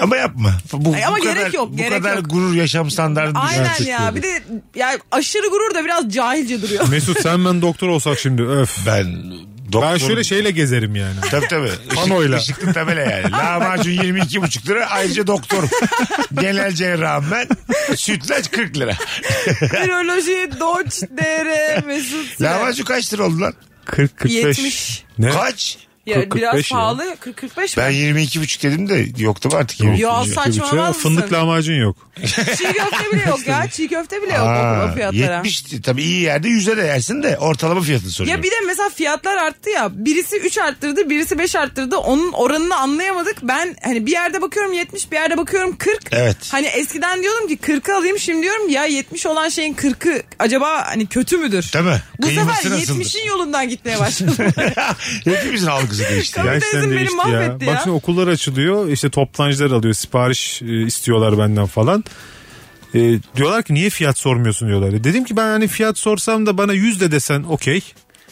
[SPEAKER 2] Ama yapma. Bu,
[SPEAKER 4] Ay, ama
[SPEAKER 2] bu
[SPEAKER 4] gerek
[SPEAKER 2] kadar,
[SPEAKER 4] yok,
[SPEAKER 2] Bu
[SPEAKER 4] gerek
[SPEAKER 2] kadar
[SPEAKER 4] yok.
[SPEAKER 2] gurur yaşam standartını
[SPEAKER 4] Aynen
[SPEAKER 2] düşürecek
[SPEAKER 4] ya.
[SPEAKER 2] diyorum.
[SPEAKER 4] Bir de ya aşırı gurur da biraz cahilce duruyor.
[SPEAKER 3] Mesut sen ben doktor olsak şimdi öf.
[SPEAKER 2] Ben doktor...
[SPEAKER 3] Ben şöyle şeyle gezerim yani.
[SPEAKER 2] Tabii tabii.
[SPEAKER 3] Panoyla.
[SPEAKER 2] Işık, ışıklı tabela yani. Lahmacun 22,5 lira. Ayrıca doktorum. Genel cerrahım ben. Sütlaç 40 lira.
[SPEAKER 4] Viroloji, doç, dr, mesut. Süre.
[SPEAKER 2] Lahmacun kaç lira oldu lan?
[SPEAKER 3] 40-45.
[SPEAKER 4] 70.
[SPEAKER 3] Ne?
[SPEAKER 2] Kaç?
[SPEAKER 4] Ya
[SPEAKER 3] 40,
[SPEAKER 4] biraz
[SPEAKER 3] 45 ya.
[SPEAKER 4] pahalı. 40-45 mi?
[SPEAKER 2] Ben 22,5 dedim de yoktu artık. 22,5.
[SPEAKER 4] Ya
[SPEAKER 3] Bütçe,
[SPEAKER 4] saçmalamaz mısın?
[SPEAKER 3] Fındık lahmacun yok.
[SPEAKER 4] Çiğ köfte bile yok ya. Çiğ köfte bile yok
[SPEAKER 2] Aa,
[SPEAKER 4] o, o fiyatlara.
[SPEAKER 2] 70 tabii iyi yerde 100'e de yersin de ortalama fiyatını soruyorum.
[SPEAKER 4] Ya bir de mesela fiyatlar arttı ya. Birisi 3 arttırdı, birisi 5 arttırdı. Onun oranını anlayamadık. Ben hani bir yerde bakıyorum 70, bir yerde bakıyorum 40.
[SPEAKER 2] Evet.
[SPEAKER 4] Hani eskiden diyordum ki 40'ı alayım. Şimdi diyorum ya 70 olan şeyin 40'ı acaba hani kötü müdür?
[SPEAKER 2] Değil mi?
[SPEAKER 4] Bu
[SPEAKER 2] Kıyması
[SPEAKER 4] sefer
[SPEAKER 2] nasıldır?
[SPEAKER 4] 70'in yolundan gitmeye başladım.
[SPEAKER 2] Hepimizin algısı değişti. ya.
[SPEAKER 4] Tabii. Teyzem beni mahvetti ya.
[SPEAKER 3] Bak şimdi okullar açılıyor işte toptancılar alıyor sipariş e, istiyorlar benden falan. E, diyorlar ki niye fiyat sormuyorsun diyorlar. E, Dedim ki ben hani fiyat sorsam da bana 100 de desen okey.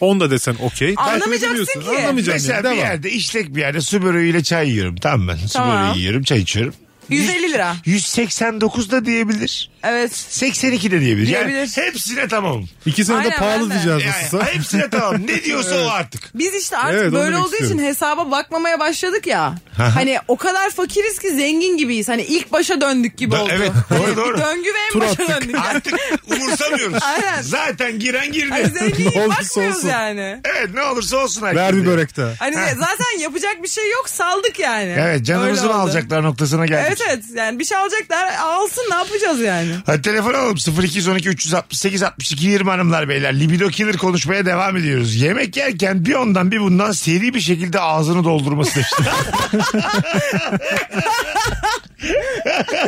[SPEAKER 3] 10 da desen okey. Takip
[SPEAKER 4] Anlamayacaksın
[SPEAKER 3] edemiyorsun.
[SPEAKER 4] ki.
[SPEAKER 3] Anlamayacaksın
[SPEAKER 2] Mesela
[SPEAKER 3] yani,
[SPEAKER 2] bir
[SPEAKER 3] devam.
[SPEAKER 2] yerde işlek bir yerde su böreğiyle çay yiyorum. Tamam ben. Su
[SPEAKER 4] Tamam.
[SPEAKER 2] böreği yiyorum çay içiyorum.
[SPEAKER 4] 150 lira.
[SPEAKER 2] 189 da diyebilir.
[SPEAKER 4] evet.
[SPEAKER 2] 82 de diyebilir. Yani
[SPEAKER 4] Diyebilir.
[SPEAKER 2] hepsine tamamım.
[SPEAKER 3] İki sene de
[SPEAKER 4] Aynen,
[SPEAKER 3] pahalı
[SPEAKER 4] ben de.
[SPEAKER 3] diyeceğiz
[SPEAKER 2] Yani,
[SPEAKER 3] nasılsa.
[SPEAKER 2] hepsine tamam. Ne diyorsa o artık.
[SPEAKER 4] Biz işte artık
[SPEAKER 3] Evet, onu
[SPEAKER 4] böyle
[SPEAKER 3] demek
[SPEAKER 4] olduğu
[SPEAKER 3] istiyorum.
[SPEAKER 4] için hesaba bakmamaya başladık ya. hani o kadar fakiriz ki zengin gibiyiz. Hani ilk başa döndük gibi
[SPEAKER 2] Da-
[SPEAKER 4] oldu.
[SPEAKER 2] evet, doğru,
[SPEAKER 4] Hani
[SPEAKER 2] doğru.
[SPEAKER 4] Döngü ve en
[SPEAKER 3] Tur
[SPEAKER 4] başa
[SPEAKER 3] attık.
[SPEAKER 4] döndük. Yani.
[SPEAKER 2] Artık umursamıyoruz.
[SPEAKER 4] Aynen.
[SPEAKER 2] Zaten giren girdi.
[SPEAKER 4] Hani zengin
[SPEAKER 3] Ne olursa
[SPEAKER 4] bakmıyoruz
[SPEAKER 3] olsun.
[SPEAKER 4] yani.
[SPEAKER 2] Evet ne olursa olsun herkese.
[SPEAKER 3] Ver bir börek daha.
[SPEAKER 4] Hani zaten yapacak bir şey yok saldık yani.
[SPEAKER 2] Evet canımızı
[SPEAKER 4] Öyle
[SPEAKER 2] mı
[SPEAKER 4] oldu.
[SPEAKER 2] alacaklar noktasına geldik.
[SPEAKER 4] Evet evet yani bir şey alacaklar alsın ne yapacağız yani.
[SPEAKER 2] Hadi telefon alalım 0212 368 62 20 hanımlar beyler. Libido killer konuşmaya devam ediyoruz. Yemek yerken bir ondan bir bundan seri bir şekilde ağzını doldurması demişti.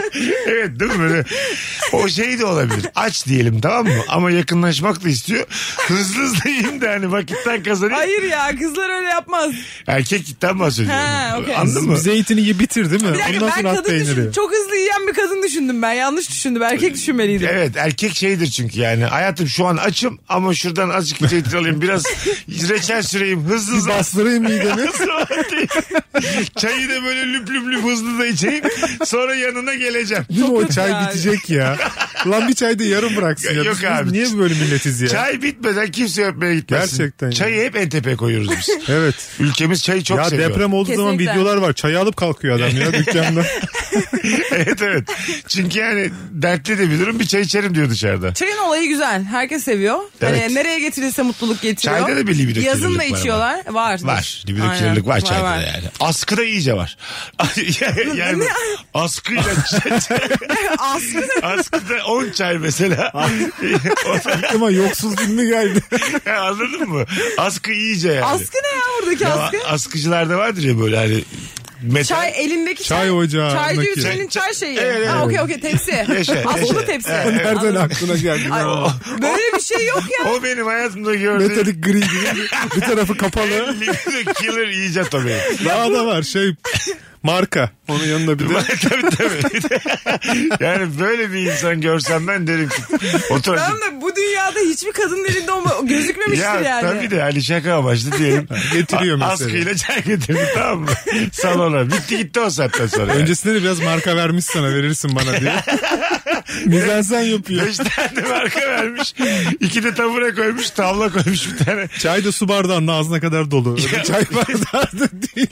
[SPEAKER 2] evet değil mi böyle? O şey de olabilir. Aç diyelim tamam mı? Ama yakınlaşmak da istiyor. Hızlı hızlı yiyeyim de hani vakitten kazanayım.
[SPEAKER 4] Hayır ya kızlar öyle yapmaz.
[SPEAKER 2] Erkeklikten bahsediyorum.
[SPEAKER 4] Ha, okey.
[SPEAKER 2] Anladın mı?
[SPEAKER 3] Zeytini ye bitir değil mi?
[SPEAKER 4] Bir dakika
[SPEAKER 3] Ondan
[SPEAKER 4] ben
[SPEAKER 3] sonra at
[SPEAKER 4] kadın
[SPEAKER 3] peyniri.
[SPEAKER 4] düşündüm. Çok hızlı yiyen bir kadın düşündüm ben. Yanlış düşündüm. Erkek düşünmeliydim.
[SPEAKER 2] Evet erkek şeydir çünkü yani hayatım şu an açım ama şuradan azıcık zeytin alayım biraz reçel süreyim hızlı hızlı
[SPEAKER 3] Bastırayım midemi.
[SPEAKER 2] Çayı da böyle lüp lüp lüp hızlı da içeyim. Sonra yanına yanına geleceğim.
[SPEAKER 3] Değil mi
[SPEAKER 4] Çok
[SPEAKER 3] o
[SPEAKER 4] kötü
[SPEAKER 3] çay
[SPEAKER 4] yani.
[SPEAKER 3] bitecek ya. Lan bir çay da yarım bıraksın ya.
[SPEAKER 2] Yok
[SPEAKER 3] Biz- biz
[SPEAKER 2] abi.
[SPEAKER 3] Niye böyle milletiz ya?
[SPEAKER 2] Çay bitmeden kimse öpmeye gitmez.
[SPEAKER 3] Gerçekten ya.
[SPEAKER 2] Çayı hep en tepeye koyuyoruz biz.
[SPEAKER 3] Evet.
[SPEAKER 2] Ülkemiz çayı çok
[SPEAKER 3] ya
[SPEAKER 2] seviyor.
[SPEAKER 3] deprem olduğu zaman
[SPEAKER 4] Kesinlikle.
[SPEAKER 3] videolar var. Çayı alıp kalkıyor adam ya dükkanda.
[SPEAKER 2] evet evet. Çünkü yani dertli de bir durum bir çay içerim diyor dışarıda.
[SPEAKER 4] Çayın olayı güzel. Herkes seviyor.
[SPEAKER 2] Evet.
[SPEAKER 4] Hani nereye getirilse mutluluk getiriyor.
[SPEAKER 2] Çayda da bir libido
[SPEAKER 4] Yazın da
[SPEAKER 2] kirlilik var
[SPEAKER 4] içiyorlar. Var.
[SPEAKER 2] Var. Bir
[SPEAKER 4] Aynen.
[SPEAKER 2] kirlilik var, çayda
[SPEAKER 4] var.
[SPEAKER 2] da yani. Askı da iyice var. yani
[SPEAKER 4] Ne?
[SPEAKER 2] askıyla
[SPEAKER 4] Aslında
[SPEAKER 2] askıda 10 çay mesela.
[SPEAKER 3] Ama yoksuz gün mü geldi?
[SPEAKER 2] Anladın mı? Askı iyice yani.
[SPEAKER 4] askı ne ya buradaki
[SPEAKER 2] Ya,
[SPEAKER 4] askı?
[SPEAKER 2] askıcılarda vardır ya böyle hani metal.
[SPEAKER 4] Çay elindeki
[SPEAKER 3] Çay ocağı,
[SPEAKER 4] Çaycı
[SPEAKER 3] makine.
[SPEAKER 4] Hüseyin'in
[SPEAKER 2] Çay-
[SPEAKER 4] çay şeyi.
[SPEAKER 2] Evet, evet.
[SPEAKER 4] ha okey okey tepsi.
[SPEAKER 2] Yaşa, yaşa.
[SPEAKER 4] Askılı tepsi.
[SPEAKER 3] Nereden
[SPEAKER 4] Anladım.
[SPEAKER 3] aklına geldi?
[SPEAKER 4] Ay,
[SPEAKER 3] ya?
[SPEAKER 4] böyle bir şey yok ya.
[SPEAKER 2] O benim hayatımda gördüğüm
[SPEAKER 3] Metalik gri gibi. Bir tarafı kapalı.
[SPEAKER 2] Libido killer iyice tabii.
[SPEAKER 3] Daha da var şey marka. Onun yanında bir de
[SPEAKER 2] tabii tabii. yani böyle bir insan görsem ben derim ki otur.
[SPEAKER 4] Tamam da bu dünyada hiçbir kadın elinde olma gözükmemiştir
[SPEAKER 2] Ya
[SPEAKER 4] yani.
[SPEAKER 2] tabii de hani şaka amaçlı diyelim.
[SPEAKER 3] getiriyor mesela.
[SPEAKER 2] Askıyla çay getirdi tamam mı? Salona. Bitti gitti o saatten sonra. yani.
[SPEAKER 3] Öncesinde de biraz marka vermiş sana verirsin bana diye. Mizansen yapıyor.
[SPEAKER 2] Beş tane de marka vermiş. İki de tabure koymuş. Tavla koymuş bir tane.
[SPEAKER 3] Çay da su bardağının ağzına kadar dolu. Öyle çay bardağı da değil.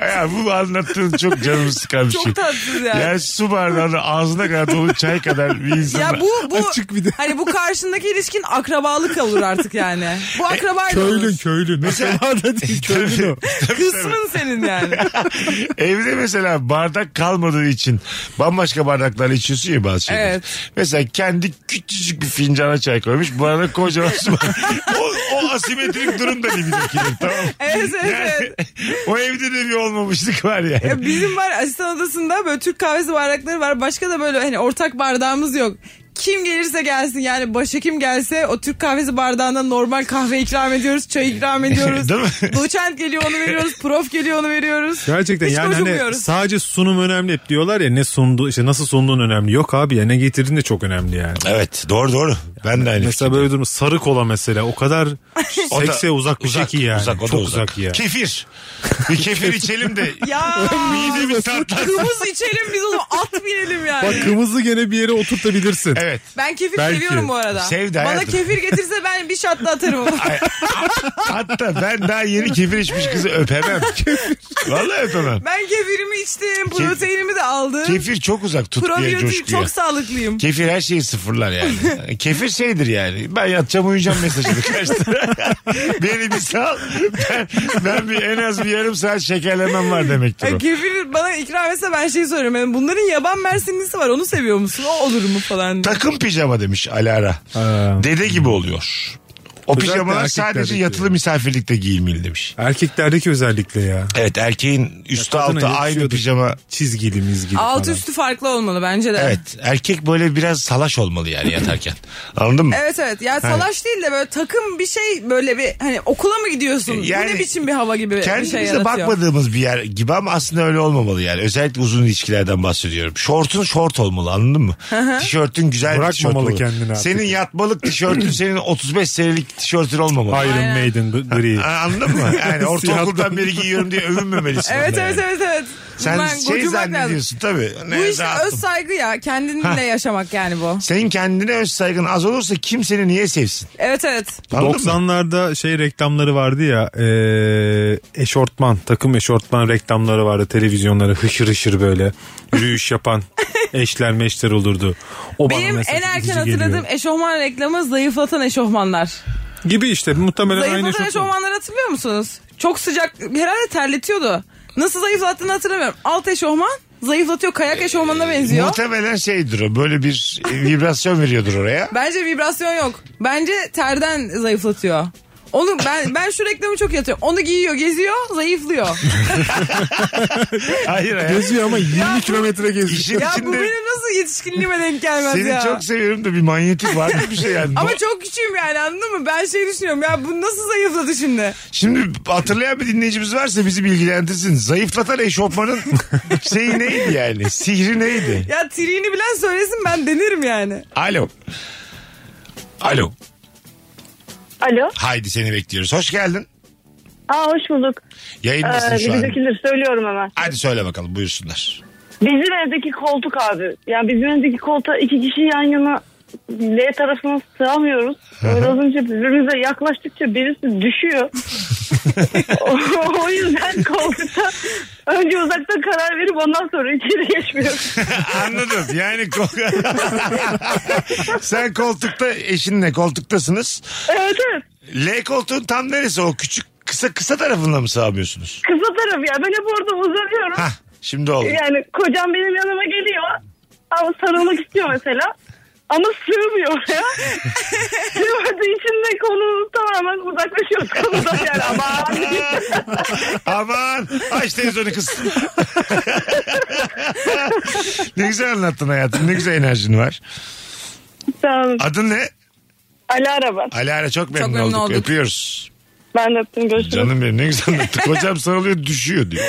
[SPEAKER 2] Ya bu anlattığın çok canımı sıkan bir şey.
[SPEAKER 4] Çok tatsız yani.
[SPEAKER 2] Yani su bardağını ağzına kadar dolu çay kadar bir insan.
[SPEAKER 4] Ya bu bu
[SPEAKER 3] Açık bir de.
[SPEAKER 4] hani bu karşındaki ilişkin akrabalık olur artık yani.
[SPEAKER 2] E,
[SPEAKER 4] Bu akraba
[SPEAKER 3] Köylü köylü. Mesela da değil köylü o.
[SPEAKER 4] kısmın senin yani.
[SPEAKER 2] Evde mesela bardak kalmadığı için bambaşka bardaklarla içiyorsun ya bazı şeyler.
[SPEAKER 4] Evet.
[SPEAKER 2] Mesela kendi küçücük bir fincana çay koymuş. Bu arada kocaman su var. o, o asimetrik durum da libidokilir tamam mı?
[SPEAKER 4] Evet evet. evet.
[SPEAKER 2] Yani, o evde de bir olmamışlık var yani.
[SPEAKER 4] Ya bizim var asistan odasında böyle Türk kahvesi bardakları var. Başka da böyle hani ortak bardağımız yok. Kim gelirse gelsin yani başhekim gelse o Türk kahvesi bardağından normal kahve ikram ediyoruz, çay ikram ediyoruz.
[SPEAKER 2] Değil mi?
[SPEAKER 4] Doçent geliyor onu veriyoruz, prof geliyor onu veriyoruz.
[SPEAKER 3] Gerçekten
[SPEAKER 4] Hiç
[SPEAKER 3] yani hani
[SPEAKER 4] bozulmuyoruz.
[SPEAKER 3] sadece sunum önemli hep diyorlar ya ne sundu işte nasıl sunduğun önemli. Yok abi ya ne getirdiğin de çok önemli yani.
[SPEAKER 2] Evet doğru doğru. Ben de aynı
[SPEAKER 3] Mesela böyle durum sarı kola mesela o kadar sekse uzak uzak iyi yani.
[SPEAKER 2] Uzak, şey o da
[SPEAKER 3] çok uzak,
[SPEAKER 2] uzak.
[SPEAKER 3] iyi. yani.
[SPEAKER 2] Kefir. Bir kefir içelim de
[SPEAKER 4] Ya
[SPEAKER 2] midemiz tatlansın.
[SPEAKER 4] kımız içelim biz o zaman at binelim yani.
[SPEAKER 3] Bak kırmızı gene bir yere oturtabilirsin.
[SPEAKER 2] Evet.
[SPEAKER 4] ben kefir
[SPEAKER 3] Belki.
[SPEAKER 4] seviyorum bu arada.
[SPEAKER 2] Sevdi
[SPEAKER 4] Bana
[SPEAKER 2] şey hayatım.
[SPEAKER 4] kefir getirse ben bir şatla atarım onu.
[SPEAKER 2] Hatta ben daha yeni kefir içmiş kızı öpemem. Vallahi öpemem.
[SPEAKER 4] ben kefirimi içtim, proteinimi de aldım.
[SPEAKER 2] Kefir çok uzak tut diye
[SPEAKER 4] Probiyotik
[SPEAKER 2] coşkuyor.
[SPEAKER 4] çok sağlıklıyım.
[SPEAKER 2] Kefir her şeyi sıfırlar yani. Kefir şeydir yani. Ben yatacağım uyuyacağım mesajıdır kaçtı. Beni bir sal. Ben, ben bir en az bir yarım saat şekerlemem var demektir o.
[SPEAKER 4] Ya kefir bana ikram etse ben şey soruyorum. Yani bunların yaban mersinlisi var onu seviyor musun? O olur mu falan diye.
[SPEAKER 2] Takım pijama demiş Alara. Dede gibi oluyor. O
[SPEAKER 3] Özellikle
[SPEAKER 2] pijamalar
[SPEAKER 3] erkeklerdeki.
[SPEAKER 2] sadece yatılı misafirlikte giyilmeli demiş.
[SPEAKER 3] Erkeklerdeki özellikle ya.
[SPEAKER 2] Evet erkeğin üstü
[SPEAKER 3] Ya kadına
[SPEAKER 2] altı aynı
[SPEAKER 3] yakışıyordu.
[SPEAKER 2] pijama.
[SPEAKER 3] Çizgili mizgili
[SPEAKER 4] Alt
[SPEAKER 3] falan.
[SPEAKER 4] üstü farklı olmalı bence de.
[SPEAKER 2] Evet erkek böyle biraz salaş olmalı yani yatarken. Anladın mı?
[SPEAKER 4] Evet evet. Ya salaş değil de böyle takım bir şey böyle bir hani okula mı gidiyorsun?
[SPEAKER 2] Yani
[SPEAKER 4] bu ne biçim bir hava gibi bir şey
[SPEAKER 2] Kendimize
[SPEAKER 4] yaratıyor.
[SPEAKER 2] bakmadığımız bir yer gibi ama aslında öyle olmamalı yani. Özellikle uzun ilişkilerden bahsediyorum. Şortun şort olmalı anladın mı? tişörtün güzel bir tişört
[SPEAKER 3] Bırakmamalı
[SPEAKER 2] olmalı.
[SPEAKER 3] kendini artık.
[SPEAKER 2] Senin yatmalık tişörtün senin 35 senelik tişörtün olmamalı.
[SPEAKER 3] Iron
[SPEAKER 4] Aynen.
[SPEAKER 3] Maiden gri.
[SPEAKER 2] Ha, Anladın mı? Yani ortaokuldan
[SPEAKER 3] Siyahtan.
[SPEAKER 2] beri giyiyorum diye övünmemelisin.
[SPEAKER 4] Evet
[SPEAKER 2] onda
[SPEAKER 4] evet
[SPEAKER 2] yani.
[SPEAKER 4] evet evet.
[SPEAKER 2] Sen
[SPEAKER 4] Ben
[SPEAKER 2] şey
[SPEAKER 4] gocunmak lazım.
[SPEAKER 2] zannediyorsun tabii. Ne,
[SPEAKER 4] Bu işte
[SPEAKER 2] rahatım.
[SPEAKER 4] öz saygı ya. Kendinle yaşamak yani bu.
[SPEAKER 2] Senin kendine öz saygın az olursa kim seni niye sevsin?
[SPEAKER 4] Evet evet.
[SPEAKER 2] Anladın mı?
[SPEAKER 3] 90'larda şey reklamları vardı ya eee, eşortman takım eşortman reklamları vardı televizyonlara hışır hışır böyle yürüyüş yapan eşler meşler olurdu. O bana
[SPEAKER 4] Benim
[SPEAKER 3] mesela
[SPEAKER 4] en erken
[SPEAKER 3] üzücü
[SPEAKER 4] hatırladığım
[SPEAKER 3] geliyor.
[SPEAKER 4] eşofman reklamı zayıflatan eşofmanlar.
[SPEAKER 3] gibi işte muhtemelen aynı
[SPEAKER 4] Zayıflatan
[SPEAKER 3] eşortman.
[SPEAKER 4] eşofmanları hatırlıyor musunuz? Çok sıcak herhalde terletiyordu. Nasıl zayıflattığını hatırlamıyorum. Alt eşofman zayıflatıyor. Kayak eşofmanına benziyor.
[SPEAKER 2] Muhtemelen şeydir o. Böyle bir e, vibrasyon veriyordur oraya.
[SPEAKER 4] Bence vibrasyon yok. Bence terden zayıflatıyor. Onu ben ben şu reklamı çok yatıyorum. Onu giyiyor, geziyor, zayıflıyor.
[SPEAKER 2] Hayır hayır.
[SPEAKER 3] Geziyor ama 20 kilometre geziyor.
[SPEAKER 2] İşin
[SPEAKER 4] ya bu
[SPEAKER 2] içinde
[SPEAKER 4] benim nasıl yetişkinliğime denk gelmez
[SPEAKER 2] seni
[SPEAKER 4] ya.
[SPEAKER 2] çok seviyorum da bir manyetik var mı bir şey yani.
[SPEAKER 4] Ama
[SPEAKER 2] Bu-
[SPEAKER 4] çok küçüğüm yani anladın mı? Ben şey düşünüyorum ya bu nasıl zayıfladı şimdi?
[SPEAKER 2] Şimdi hatırlayan bir dinleyicimiz varsa bizi bilgilendirsin. Zayıflatan eşofmanın şeyi neydi yani? Sihri neydi?
[SPEAKER 4] Ya triğini bilen söylesin ben denerim yani.
[SPEAKER 2] Alo. Alo.
[SPEAKER 7] Alo.
[SPEAKER 2] Haydi seni bekliyoruz. Hoş geldin.
[SPEAKER 7] Aa hoş bulduk.
[SPEAKER 2] Yayındasın
[SPEAKER 7] Ee,
[SPEAKER 2] şu an.
[SPEAKER 7] Libido Killer söylüyorum hemen.
[SPEAKER 2] Hadi söyle bakalım buyursunlar.
[SPEAKER 7] Bizim evdeki koltuk abi. Yani bizim evdeki koltuğa iki kişi yan yana L tarafına sığamıyoruz. Böyle az önce birbirimize yaklaştıkça birisi düşüyor. O- o yüzden koltukta önce uzakta karar verip ondan sonra içeri geçmiyoruz.
[SPEAKER 2] Anladım. Yani kol- sen koltukta eşinle koltuktasınız.
[SPEAKER 7] Evet evet.
[SPEAKER 2] L koltuğun tam neresi o küçük kısa kısa tarafında mı sığamıyorsunuz?
[SPEAKER 7] Kısa taraf ya. Ben hep orada uzanıyorum.
[SPEAKER 2] Hah şimdi oldu.
[SPEAKER 7] Yani kocam benim yanıma geliyor. Ama sarılmak istiyor mesela. Ama sığmıyor ya. Sığmadığı için de konu tamamen uzaklaşıyoruz konudan yani. Aman.
[SPEAKER 2] Aman aç televizyonu kız. ne güzel anlattın hayatım. Ne güzel enerjin var.
[SPEAKER 7] Sağ olun.
[SPEAKER 2] Adın ne?
[SPEAKER 7] Ali Araba.
[SPEAKER 2] Alara çok memnun,
[SPEAKER 4] memnun
[SPEAKER 2] olduk.
[SPEAKER 4] olduk.
[SPEAKER 2] Öpüyoruz.
[SPEAKER 7] Ben de öptüm. Görüşürüz.
[SPEAKER 2] Canım benim ne güzel anlattın. Kocam sarılıyor düşüyor diyor.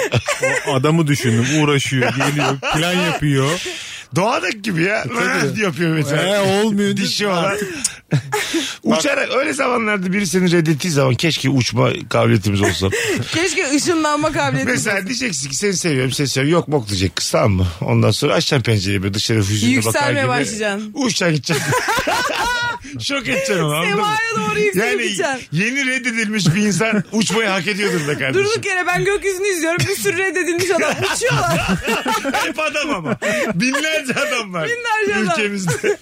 [SPEAKER 3] O adamı düşündüm uğraşıyor geliyor plan yapıyor.
[SPEAKER 2] Doğadak gibi ya. yapıyor mesela.
[SPEAKER 3] Ee, olmuyor.
[SPEAKER 2] Dişi olan. Uçarak öyle zamanlarda biri seni reddettiği zaman keşke uçma kabiliyetimiz olsa.
[SPEAKER 4] Keşke ışınlanma kabiliyeti.
[SPEAKER 2] Mesela diyeceksin ki seni seviyorum seni seviyorum yok mok diyecek kız tamam mı? Ondan sonra açacaksın pencereyi böyle dışarı hüzünlü bakar gibi.
[SPEAKER 4] Yükselmeye başlayacaksın.
[SPEAKER 2] Uçacaksın gideceksin. Şok edeceksin onu anladın mı?
[SPEAKER 4] Sema'ya doğru yükselip
[SPEAKER 2] Yani
[SPEAKER 4] gideceksin.
[SPEAKER 2] yeni reddedilmiş bir insan uçmayı hak ediyordur be kardeşim.
[SPEAKER 4] Durduk yere ben gökyüzünü izliyorum. Bir sürü reddedilmiş adam uçuyorlar.
[SPEAKER 2] Hep adam ama. Binlerce adam var.
[SPEAKER 4] Binlerce adam.
[SPEAKER 2] Ülkemizde.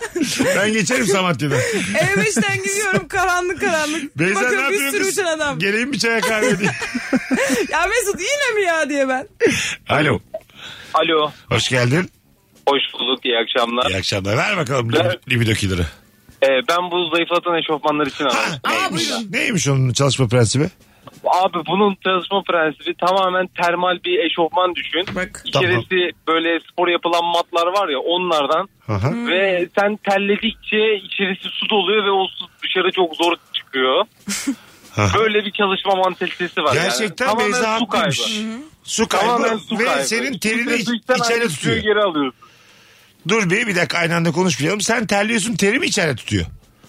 [SPEAKER 2] ben geçerim Samatya'dan.
[SPEAKER 4] E5'ten gidiyorum karanlık karanlık.
[SPEAKER 2] Beyza ne
[SPEAKER 4] Bakıyorum bir
[SPEAKER 2] yapıyorsun?
[SPEAKER 4] sürü uçan adam.
[SPEAKER 2] Geleyim bir çaya kahve diye.
[SPEAKER 4] Ya Mesut yine mi ya diye ben.
[SPEAKER 2] Alo.
[SPEAKER 8] Alo.
[SPEAKER 2] Hoş geldin.
[SPEAKER 8] Hoş bulduk. iyi akşamlar.
[SPEAKER 2] İyi akşamlar. Ver bakalım lib- libido killer'ı.
[SPEAKER 8] Ee, ben bu zayıflatan eşofmanlar için aradım.
[SPEAKER 2] Neymiş? Neymiş onun çalışma prensibi?
[SPEAKER 8] Abi bunun çalışma prensibi tamamen termal bir eşofman düşün.
[SPEAKER 4] Bak.
[SPEAKER 8] İçerisi böyle spor yapılan matlar var ya onlardan.
[SPEAKER 2] Aha.
[SPEAKER 8] Ve sen terledikçe içerisi su doluyor ve o su dışarı çok zor çıkıyor.
[SPEAKER 2] Aha.
[SPEAKER 8] Böyle bir çalışma mantalitesi var
[SPEAKER 2] Gerçekten
[SPEAKER 8] yani. Tamamen
[SPEAKER 2] Beyza
[SPEAKER 8] su kaybı.
[SPEAKER 2] haklıymış. Su kaybı
[SPEAKER 8] Tamamen su
[SPEAKER 2] ve
[SPEAKER 8] kaybı.
[SPEAKER 2] senin
[SPEAKER 8] İçinde
[SPEAKER 2] terini
[SPEAKER 8] su içten
[SPEAKER 2] içeri
[SPEAKER 8] aynı suyu
[SPEAKER 2] tutuyor.
[SPEAKER 8] geri alıyorsun.
[SPEAKER 2] Dur bir bir dakika aynı anda konuşmayalım. Sen terliyorsun terimi mi içeri tutuyor?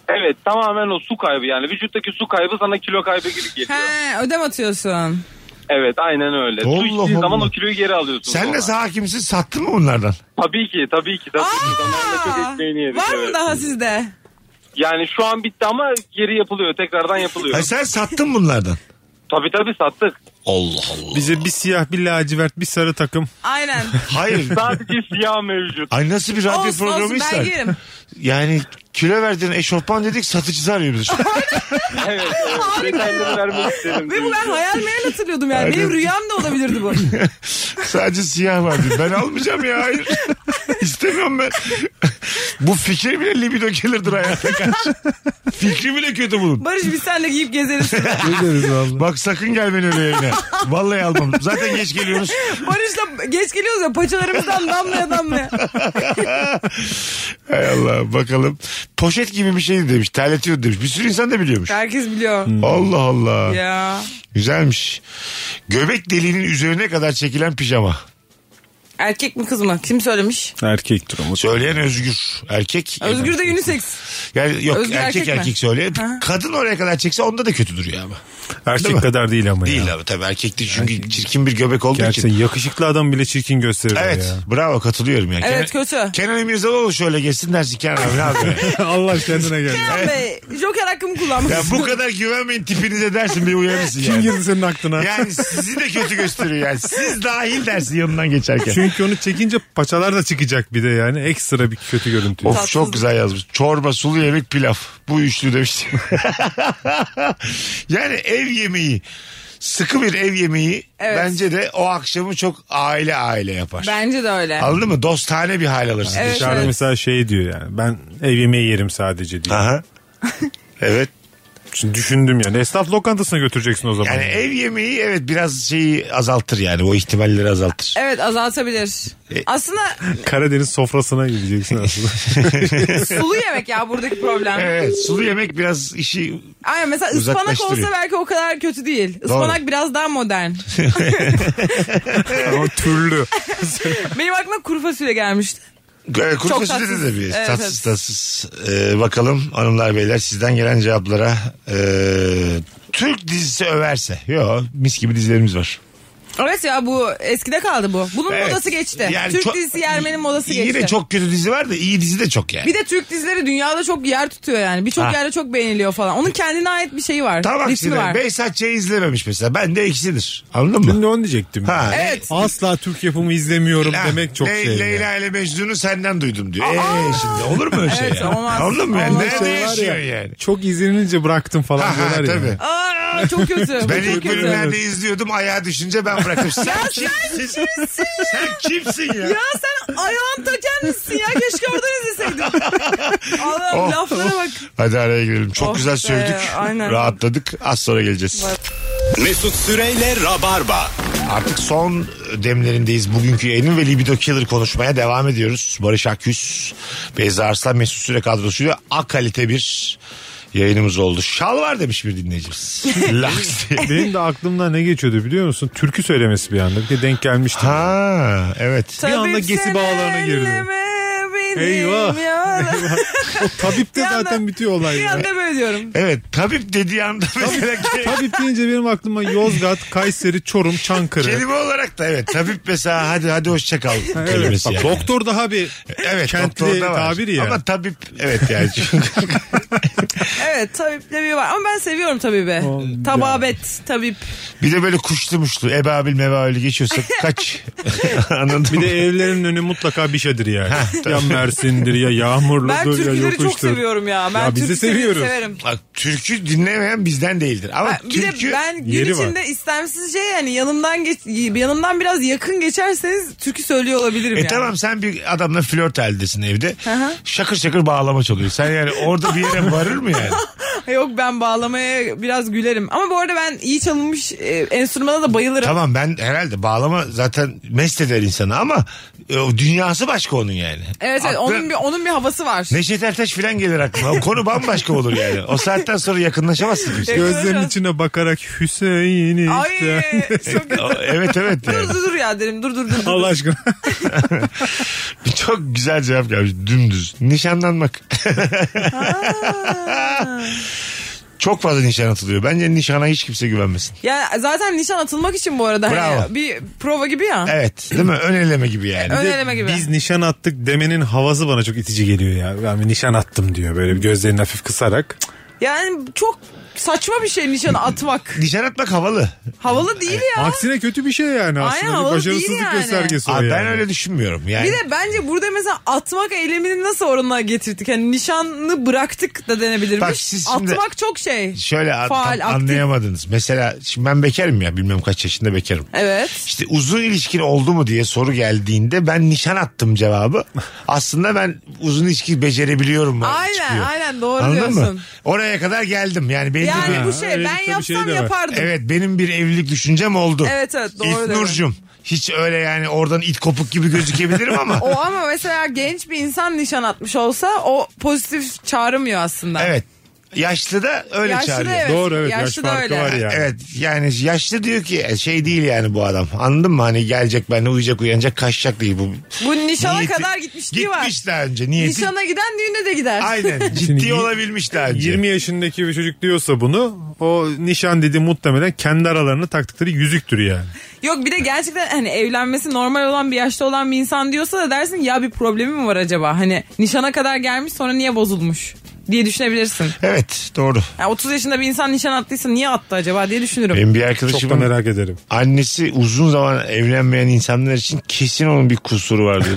[SPEAKER 8] Evet tamamen o su kaybı yani vücuttaki su kaybı sana kilo kaybı gibi geliyor.
[SPEAKER 4] He ödem atıyorsun.
[SPEAKER 8] Evet aynen öyle.
[SPEAKER 2] Allah
[SPEAKER 8] Su içtiğin zaman
[SPEAKER 2] Allah.
[SPEAKER 8] o kiloyu geri alıyorsun.
[SPEAKER 2] Sen
[SPEAKER 8] sonra.
[SPEAKER 2] nasıl hakimsin sattın mı bunlardan?
[SPEAKER 8] Tabii ki tabii ki. Tabii ki. Zamanla çok
[SPEAKER 4] Aa,
[SPEAKER 8] ekmeğini yedik.
[SPEAKER 4] var mı
[SPEAKER 8] evet.
[SPEAKER 4] daha sizde?
[SPEAKER 8] Yani şu an bitti ama geri yapılıyor. Tekrardan yapılıyor.
[SPEAKER 2] Ha, sen sattın bunlardan.
[SPEAKER 8] tabii tabii sattık.
[SPEAKER 2] Allah Allah.
[SPEAKER 3] Bize bir siyah bir lacivert bir sarı takım.
[SPEAKER 4] Aynen.
[SPEAKER 2] Hayır.
[SPEAKER 8] Sadece siyah mevcut.
[SPEAKER 2] Ay nasıl bir radyo
[SPEAKER 4] olsun olsun ben
[SPEAKER 2] programıysa.
[SPEAKER 4] giyerim.
[SPEAKER 2] Yani kilo verdiğin eşofman dedik satıcısı arıyor bizi. şu an.
[SPEAKER 8] Evet. evet. Detayları vermek isterim.
[SPEAKER 4] Ve bu ben hayal meyal hatırlıyordum yani.
[SPEAKER 2] Aynen.
[SPEAKER 4] Benim rüyam da olabilirdi bu.
[SPEAKER 2] Sadece siyah var diyor. Ben almayacağım ya hayır. İstemiyorum ben. Bu fikir bile libido gelirdir hayata karşı. Fikri bile kötü bunun.
[SPEAKER 4] Barış biz senle giyip gezeriz.
[SPEAKER 3] Ne deriz valla.
[SPEAKER 2] Bak sakın gel beni öyle evine. Vallahi almam. Zaten geç geliyoruz.
[SPEAKER 4] Barış'la geç geliyoruz ya paçalarımızdan damlaya damlaya.
[SPEAKER 2] Hay Allah bakalım. Poşet gibi bir şey demiş. Terletiyor demiş. Bir sürü insan da biliyormuş.
[SPEAKER 4] Herkes biliyor.
[SPEAKER 2] Allah Allah.
[SPEAKER 4] ya.
[SPEAKER 2] Güzelmiş. Göbek deliğinin üzerine kadar çekilen pijama.
[SPEAKER 4] Erkek mi kız mı? Kim söylemiş?
[SPEAKER 3] Erkektir ama.
[SPEAKER 2] Söyleyen özgür. Erkek.
[SPEAKER 4] Özgür de unisex.
[SPEAKER 2] Yani yok
[SPEAKER 4] Özgür
[SPEAKER 2] erkek
[SPEAKER 4] erkek mi?
[SPEAKER 2] erkek, söyleyen.
[SPEAKER 4] Ha.
[SPEAKER 2] Kadın oraya kadar çekse onda da kötü duruyor ama. Değil mi?
[SPEAKER 3] Erkek kadar değil ama ya.
[SPEAKER 2] Değil abi tabii erkek değil çünkü çirkin bir göbek olduğu
[SPEAKER 3] Gerçekten
[SPEAKER 2] için.
[SPEAKER 3] yakışıklı adam bile çirkin gösterir
[SPEAKER 2] Evet bravo katılıyorum ya.
[SPEAKER 4] Evet,
[SPEAKER 2] Kenan,
[SPEAKER 4] kötü.
[SPEAKER 2] Kenan İmirzalıoğlu şöyle geçsin dersin Kenan abi ne yapıyor?
[SPEAKER 3] ya. Allah kendine gel.
[SPEAKER 4] Kenan Bey Joker hakkımı kullanmış.
[SPEAKER 2] ya bu kadar güvenmeyin tipinize dersin bir uyarırsın
[SPEAKER 3] Kim
[SPEAKER 2] yani.
[SPEAKER 3] girdi senin aklına?
[SPEAKER 2] Yani sizi de kötü gösteriyor yani. Siz dahil dersin yanından geçerken.
[SPEAKER 3] Çünkü onu çekince paçalar da çıkacak bir de yani. Ekstra bir kötü görüntü.
[SPEAKER 2] Of çok güzel yazmış. Çorba, sulu yemek, pilav. Bu üçlü demiş. yani ev yemeği. Sıkı bir ev yemeği
[SPEAKER 4] Evet.
[SPEAKER 2] bence de o akşamı çok aile aile yapar.
[SPEAKER 4] Bence de öyle.
[SPEAKER 2] Anladın mı? Dostane bir hal alırsın.
[SPEAKER 4] Evet,
[SPEAKER 3] Dışarıda
[SPEAKER 4] evet.
[SPEAKER 3] mesela şey diyor yani. Ben ev yemeği yerim sadece diyor.
[SPEAKER 2] Aha. evet.
[SPEAKER 3] Şimdi düşündüm yani. Esnaf lokantasına götüreceksin o zaman.
[SPEAKER 2] Yani ev yemeği evet biraz şeyi azaltır yani o ihtimalleri azaltır.
[SPEAKER 4] Evet azaltabilir.
[SPEAKER 2] E-
[SPEAKER 4] Aslında
[SPEAKER 3] Karadeniz sofrasına gideceksin aslında.
[SPEAKER 4] sulu yemek ya buradaki problem.
[SPEAKER 2] Evet sulu yemek biraz işi
[SPEAKER 4] Aynen mesela ıspanak
[SPEAKER 2] E- Uzaklaştırıyor.
[SPEAKER 4] olsa belki o kadar kötü değil. Ispanak biraz daha modern.
[SPEAKER 3] Ama türlü.
[SPEAKER 4] Benim aklıma kuru fasulye gelmişti.
[SPEAKER 2] Evet, e, kuru
[SPEAKER 4] Çok
[SPEAKER 2] fasulye de
[SPEAKER 4] tatsız.
[SPEAKER 2] tabii.
[SPEAKER 4] Evet,
[SPEAKER 2] tatsız
[SPEAKER 4] evet.
[SPEAKER 2] tatsız. Ee, bakalım hanımlar beyler sizden gelen e, cevaplara. Ee, Türk dizisi överse. Yo mis gibi dizilerimiz var.
[SPEAKER 4] Evet ya bu eskide kaldı bu. Bunun
[SPEAKER 2] Evet.
[SPEAKER 4] modası geçti.
[SPEAKER 2] Yani
[SPEAKER 4] Türk
[SPEAKER 2] çok-
[SPEAKER 4] dizisi yermenin modası
[SPEAKER 2] Yine
[SPEAKER 4] geçti.
[SPEAKER 2] çok kötü dizi var da iyi dizi de çok yani.
[SPEAKER 4] Bir de Türk dizileri dünyada çok yer tutuyor yani. Birçok
[SPEAKER 2] Ha.
[SPEAKER 4] yerde çok beğeniliyor falan. Onun kendine ait bir şeyi var.
[SPEAKER 2] Tam
[SPEAKER 4] ritmi
[SPEAKER 2] aksine
[SPEAKER 4] var.
[SPEAKER 2] Behzat Ç'yi izlememiş mesela. Ben de ikisidir. Anladın
[SPEAKER 3] Ben
[SPEAKER 2] mı?
[SPEAKER 3] de onu diyecektim.
[SPEAKER 2] Ha.
[SPEAKER 4] Evet.
[SPEAKER 3] Asla Türk yapımı izlemiyorum
[SPEAKER 2] Ha,
[SPEAKER 3] demek çok
[SPEAKER 2] Le-
[SPEAKER 3] şey.
[SPEAKER 2] Leyla
[SPEAKER 3] yani.
[SPEAKER 2] ile Mecnun'u senden duydum diyor. Eee şimdi olur mu öyle şey?
[SPEAKER 4] Evet,
[SPEAKER 2] ya?
[SPEAKER 4] olmaz.
[SPEAKER 2] Anladın mı? Yani?
[SPEAKER 4] Olmaz.
[SPEAKER 2] Nerede
[SPEAKER 3] Şey var
[SPEAKER 2] yaşıyor
[SPEAKER 3] ya,
[SPEAKER 2] yani?
[SPEAKER 3] Çok izlenilince bıraktım falan
[SPEAKER 2] Ha, ha,
[SPEAKER 3] diyorlar ya.
[SPEAKER 2] tabii.
[SPEAKER 4] Aa, çok kötü. Bu
[SPEAKER 2] Ben
[SPEAKER 4] çok
[SPEAKER 2] ilk
[SPEAKER 4] kötü.
[SPEAKER 2] bölümlerde izliyordum ayağa düşünce ben bıraktım. Sen kimsin? sen kimsin ya?
[SPEAKER 4] Ya sen ayağın taken misin ya? Keşke oradan izleseydim. Allah'ım
[SPEAKER 2] Oh.
[SPEAKER 4] laflara bak.
[SPEAKER 2] Hadi araya girelim. Çok
[SPEAKER 4] Oh
[SPEAKER 2] güzel
[SPEAKER 4] be,
[SPEAKER 2] sövdük.
[SPEAKER 4] aynen.
[SPEAKER 2] Rahatladık. Az sonra geleceğiz.
[SPEAKER 1] Mesut Süreyle Rabarba.
[SPEAKER 2] Artık son demlerindeyiz. Bugünkü yayının ve Libido Killer konuşmaya devam ediyoruz. Barış Akyüz, Beyza Arslan, Mesut Süre kadrosuyla A kalite bir yayınımız oldu. Şal var demiş bir dinleyicimiz. Laks diye.
[SPEAKER 3] Benim de aklımdan ne geçiyordu biliyor musun? Türkü söylemesi bir anda. Bir de denk gelmiştim.
[SPEAKER 2] Ha evet.
[SPEAKER 4] Tabip
[SPEAKER 3] anda gesi
[SPEAKER 4] sen
[SPEAKER 3] bağlarına girdi.
[SPEAKER 4] elleme benim
[SPEAKER 3] Eyvah.
[SPEAKER 4] yara-
[SPEAKER 3] O tabipte
[SPEAKER 4] Bir anda-
[SPEAKER 3] zaten bitiyor olay.
[SPEAKER 4] Bir
[SPEAKER 3] ya.
[SPEAKER 4] anda böyle diyorum.
[SPEAKER 2] Evet tabip dediği anda mesela ke-
[SPEAKER 3] Tabip deyince benim aklıma Yozgat, Kayseri, Çorum, Çankırı.
[SPEAKER 2] kelime olarak da evet tabip mesela hadi hadi hoşça kal
[SPEAKER 3] Evet,
[SPEAKER 2] kelimesi.
[SPEAKER 3] bak,
[SPEAKER 2] yani.
[SPEAKER 3] Doktor daha bir
[SPEAKER 2] Evet
[SPEAKER 3] kentli
[SPEAKER 2] doktorda var.
[SPEAKER 3] tabir ya.
[SPEAKER 2] Ama tabip evet yani.
[SPEAKER 4] Evet tabiple bir var. Ama ben seviyorum tabibi.
[SPEAKER 3] Oh,
[SPEAKER 4] Tababet, tabip.
[SPEAKER 2] bir de böyle kuşlu muşlu ebabil mebabil geçiyorsa kaç. Anladın
[SPEAKER 3] Bir
[SPEAKER 2] mı?
[SPEAKER 3] de evlerin önü mutlaka bir şeydir yani. ya Mersin'dir ya
[SPEAKER 4] Ben
[SPEAKER 3] Yağmurlu'dur ya
[SPEAKER 4] türküleri çok
[SPEAKER 3] yokuştur.
[SPEAKER 4] seviyorum ya. Ben
[SPEAKER 3] Ya biz de
[SPEAKER 4] türkü seviyorum,
[SPEAKER 3] seviyoruz.
[SPEAKER 4] severim.
[SPEAKER 2] Bak türkü dinlemeyen bizden değildir. Ama
[SPEAKER 4] Ben- bir
[SPEAKER 2] türkü
[SPEAKER 4] de ben gün
[SPEAKER 3] yeri var.
[SPEAKER 4] içinde istemsizce yani yanımdan geç, yanımdan biraz yakın geçerseniz türkü söylüyor olabilirim
[SPEAKER 2] E
[SPEAKER 4] yani.
[SPEAKER 2] tamam sen bir adamla flört haldesin evde.
[SPEAKER 4] hı.
[SPEAKER 2] Şakır şakır bağlama çalıyor. Sen yani orada bir yere varır mı yani?
[SPEAKER 4] Yok ben bağlamaya biraz gülerim. Ama bu arada ben iyi çalınmış e, enstrümana da bayılırım.
[SPEAKER 2] tamam ben herhalde bağlama zaten mest eder insanı ama e, o dünyası başka onun yani.
[SPEAKER 4] Evet, evet
[SPEAKER 2] Aklı-
[SPEAKER 4] onun bir onun bir havası var.
[SPEAKER 2] Neşet Ertaş filan gelir aklıma. O konu bambaşka olur yani. O saatten sonra yakınlaşamazsın kimse.
[SPEAKER 3] Gözlerinin içine bakarak Hüseyin'i
[SPEAKER 4] Ay
[SPEAKER 3] işte.
[SPEAKER 4] çok
[SPEAKER 2] O- evet evet. yani.
[SPEAKER 4] dur dur dur ya derim dur dur dur. dur.
[SPEAKER 3] Allah aşkına.
[SPEAKER 2] Çok güzel cevap gelmiş. Dümdüz. Nişanlanmak. Çok fazla nişan atılıyor. Bence nişana hiç kimse güvenmesin.
[SPEAKER 4] Yani zaten nişan atılmak için bu arada
[SPEAKER 2] Bravo.
[SPEAKER 4] hani bir prova gibi ya.
[SPEAKER 2] Evet değil mi? Ön eleme gibi yani.
[SPEAKER 4] Ön eleme gibi.
[SPEAKER 3] Biz nişan attık demenin havası bana çok itici geliyor ya. Yani nişan attım diyor böyle bir gözlerini hafif kısarak.
[SPEAKER 4] Yani çok saçma bir şey nişanı atmak.
[SPEAKER 2] Nişan atmak havalı.
[SPEAKER 4] Havalı değil ya.
[SPEAKER 3] Aksine kötü bir şey yani aslında.
[SPEAKER 4] Aynen,
[SPEAKER 3] Bir
[SPEAKER 4] havalı değil
[SPEAKER 3] başarısızlık
[SPEAKER 4] yani.
[SPEAKER 3] göstergesi o
[SPEAKER 2] Aa,
[SPEAKER 3] yani.
[SPEAKER 2] ben öyle düşünmüyorum. Yani
[SPEAKER 4] Bir de bence burada mesela atmak eylemini nasıl oranına getirdik? Hani nişanı bıraktık da denebilirmiş.
[SPEAKER 2] Bak siz şimdi-
[SPEAKER 4] Atmak çok şey.
[SPEAKER 2] şöyle an-
[SPEAKER 4] Faal,
[SPEAKER 2] tam
[SPEAKER 4] aktif.
[SPEAKER 2] anlayamadınız. Mesela şimdi ben bekarım ya bilmem kaç yaşında bekarım.
[SPEAKER 4] Evet.
[SPEAKER 2] İşte uzun ilişkin oldu mu diye soru geldiğinde ben nişan attım cevabı. Aslında ben uzun ilişki becerebiliyorum. bana
[SPEAKER 4] Aynen,
[SPEAKER 2] çıkıyor.
[SPEAKER 4] aynen, doğru
[SPEAKER 2] Anladın
[SPEAKER 4] diyorsun.
[SPEAKER 2] Mı? Oraya kadar geldim. Yani belli
[SPEAKER 4] Yani
[SPEAKER 2] bir...
[SPEAKER 4] bu şey
[SPEAKER 3] öyle
[SPEAKER 4] ben
[SPEAKER 3] bir tabii şey
[SPEAKER 4] yapsam
[SPEAKER 3] de var.
[SPEAKER 4] yapardım.
[SPEAKER 2] Evet benim bir evlilik düşüncem oldu.
[SPEAKER 4] Evet, evet, doğru
[SPEAKER 2] İlk
[SPEAKER 4] dedin.
[SPEAKER 2] Nurcum. Hiç öyle yani oradan it kopuk gibi gözükebilirim ama.
[SPEAKER 4] O ama mesela genç bir insan nişan atmış olsa o pozitif çağrımıyor aslında.
[SPEAKER 2] evet. Yaşlı da öyle
[SPEAKER 4] Yaşlı da
[SPEAKER 2] çağırıyor.
[SPEAKER 4] evet.
[SPEAKER 3] Doğru evet yaş,
[SPEAKER 4] Yaşlı da
[SPEAKER 3] farkı
[SPEAKER 4] öyle.
[SPEAKER 3] var yani.
[SPEAKER 2] Evet yani yaşlı diyor ki e, şey değil yani bu adam anladın mı hani gelecek benimle uyuyacak uyanacak kaçacak değil bu.
[SPEAKER 4] Bu nişana
[SPEAKER 2] Niyeti-
[SPEAKER 4] kadar gitmişliği var.
[SPEAKER 2] Gitmiş daha önce niyeti.
[SPEAKER 4] Nişana giden düğüne de gider.
[SPEAKER 2] Aynen ciddi
[SPEAKER 3] Şimdi y-
[SPEAKER 2] olabilmiş daha önce.
[SPEAKER 3] 20 yaşındaki bir çocuk diyorsa bunu o nişan dedi muhtemelen kendi aralarına taktıkları yüzüktür yani.
[SPEAKER 4] Yok bir de gerçekten hani evlenmesi normal olan bir yaşta olan bir insan diyorsa da dersin ya bir problemi mi var acaba? Hani nişana kadar gelmiş sonra niye bozulmuş diye düşünebilirsin.
[SPEAKER 2] Evet doğru.
[SPEAKER 4] Yani 30 yaşında bir insan nişan attıysa niye attı acaba diye düşünürüm.
[SPEAKER 2] Benim bir
[SPEAKER 3] Çok da
[SPEAKER 2] arkadaşımın
[SPEAKER 3] merak ederim.
[SPEAKER 2] annesi uzun zaman evlenmeyen insanlar için kesin onun bir kusuru var diyor.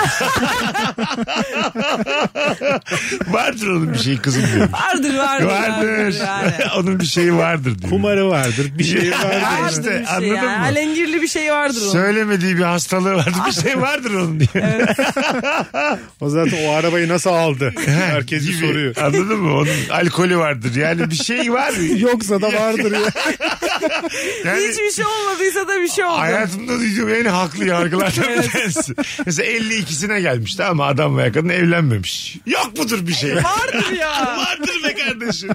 [SPEAKER 2] vardır onun bir şey kızım diyor.
[SPEAKER 4] Vardır vardır.
[SPEAKER 2] Vardır.
[SPEAKER 4] yani.
[SPEAKER 2] onun bir şeyi vardır diyor.
[SPEAKER 3] Kumarı vardır bir şey vardır.
[SPEAKER 2] Vardır
[SPEAKER 4] Vardır
[SPEAKER 2] işte
[SPEAKER 4] bir şey
[SPEAKER 2] anladın
[SPEAKER 4] yani.
[SPEAKER 2] mı?
[SPEAKER 4] Alengirli bir şey vardır onun.
[SPEAKER 2] Söylemediği bir hastalığı vardır. Bir şey vardır onun diye.
[SPEAKER 3] O zaten o arabayı nasıl aldı? Herkes bir
[SPEAKER 2] Gibi.
[SPEAKER 3] soruyor.
[SPEAKER 2] Anladın mı? Onun alkolü vardır. Yani bir şey var.
[SPEAKER 3] Yoksa da vardır ya.
[SPEAKER 2] Yani
[SPEAKER 4] Hiçbir şey olmadıysa da bir şey oldu.
[SPEAKER 2] hayatımda duyduğum en haklı yargılardan bir tanesi. Mesela 52'sine gelmiş tamam mı? Adam ve kadın evlenmemiş. Yok mudur bir şey?
[SPEAKER 4] Vardır ya.
[SPEAKER 2] Vardır be kardeşim.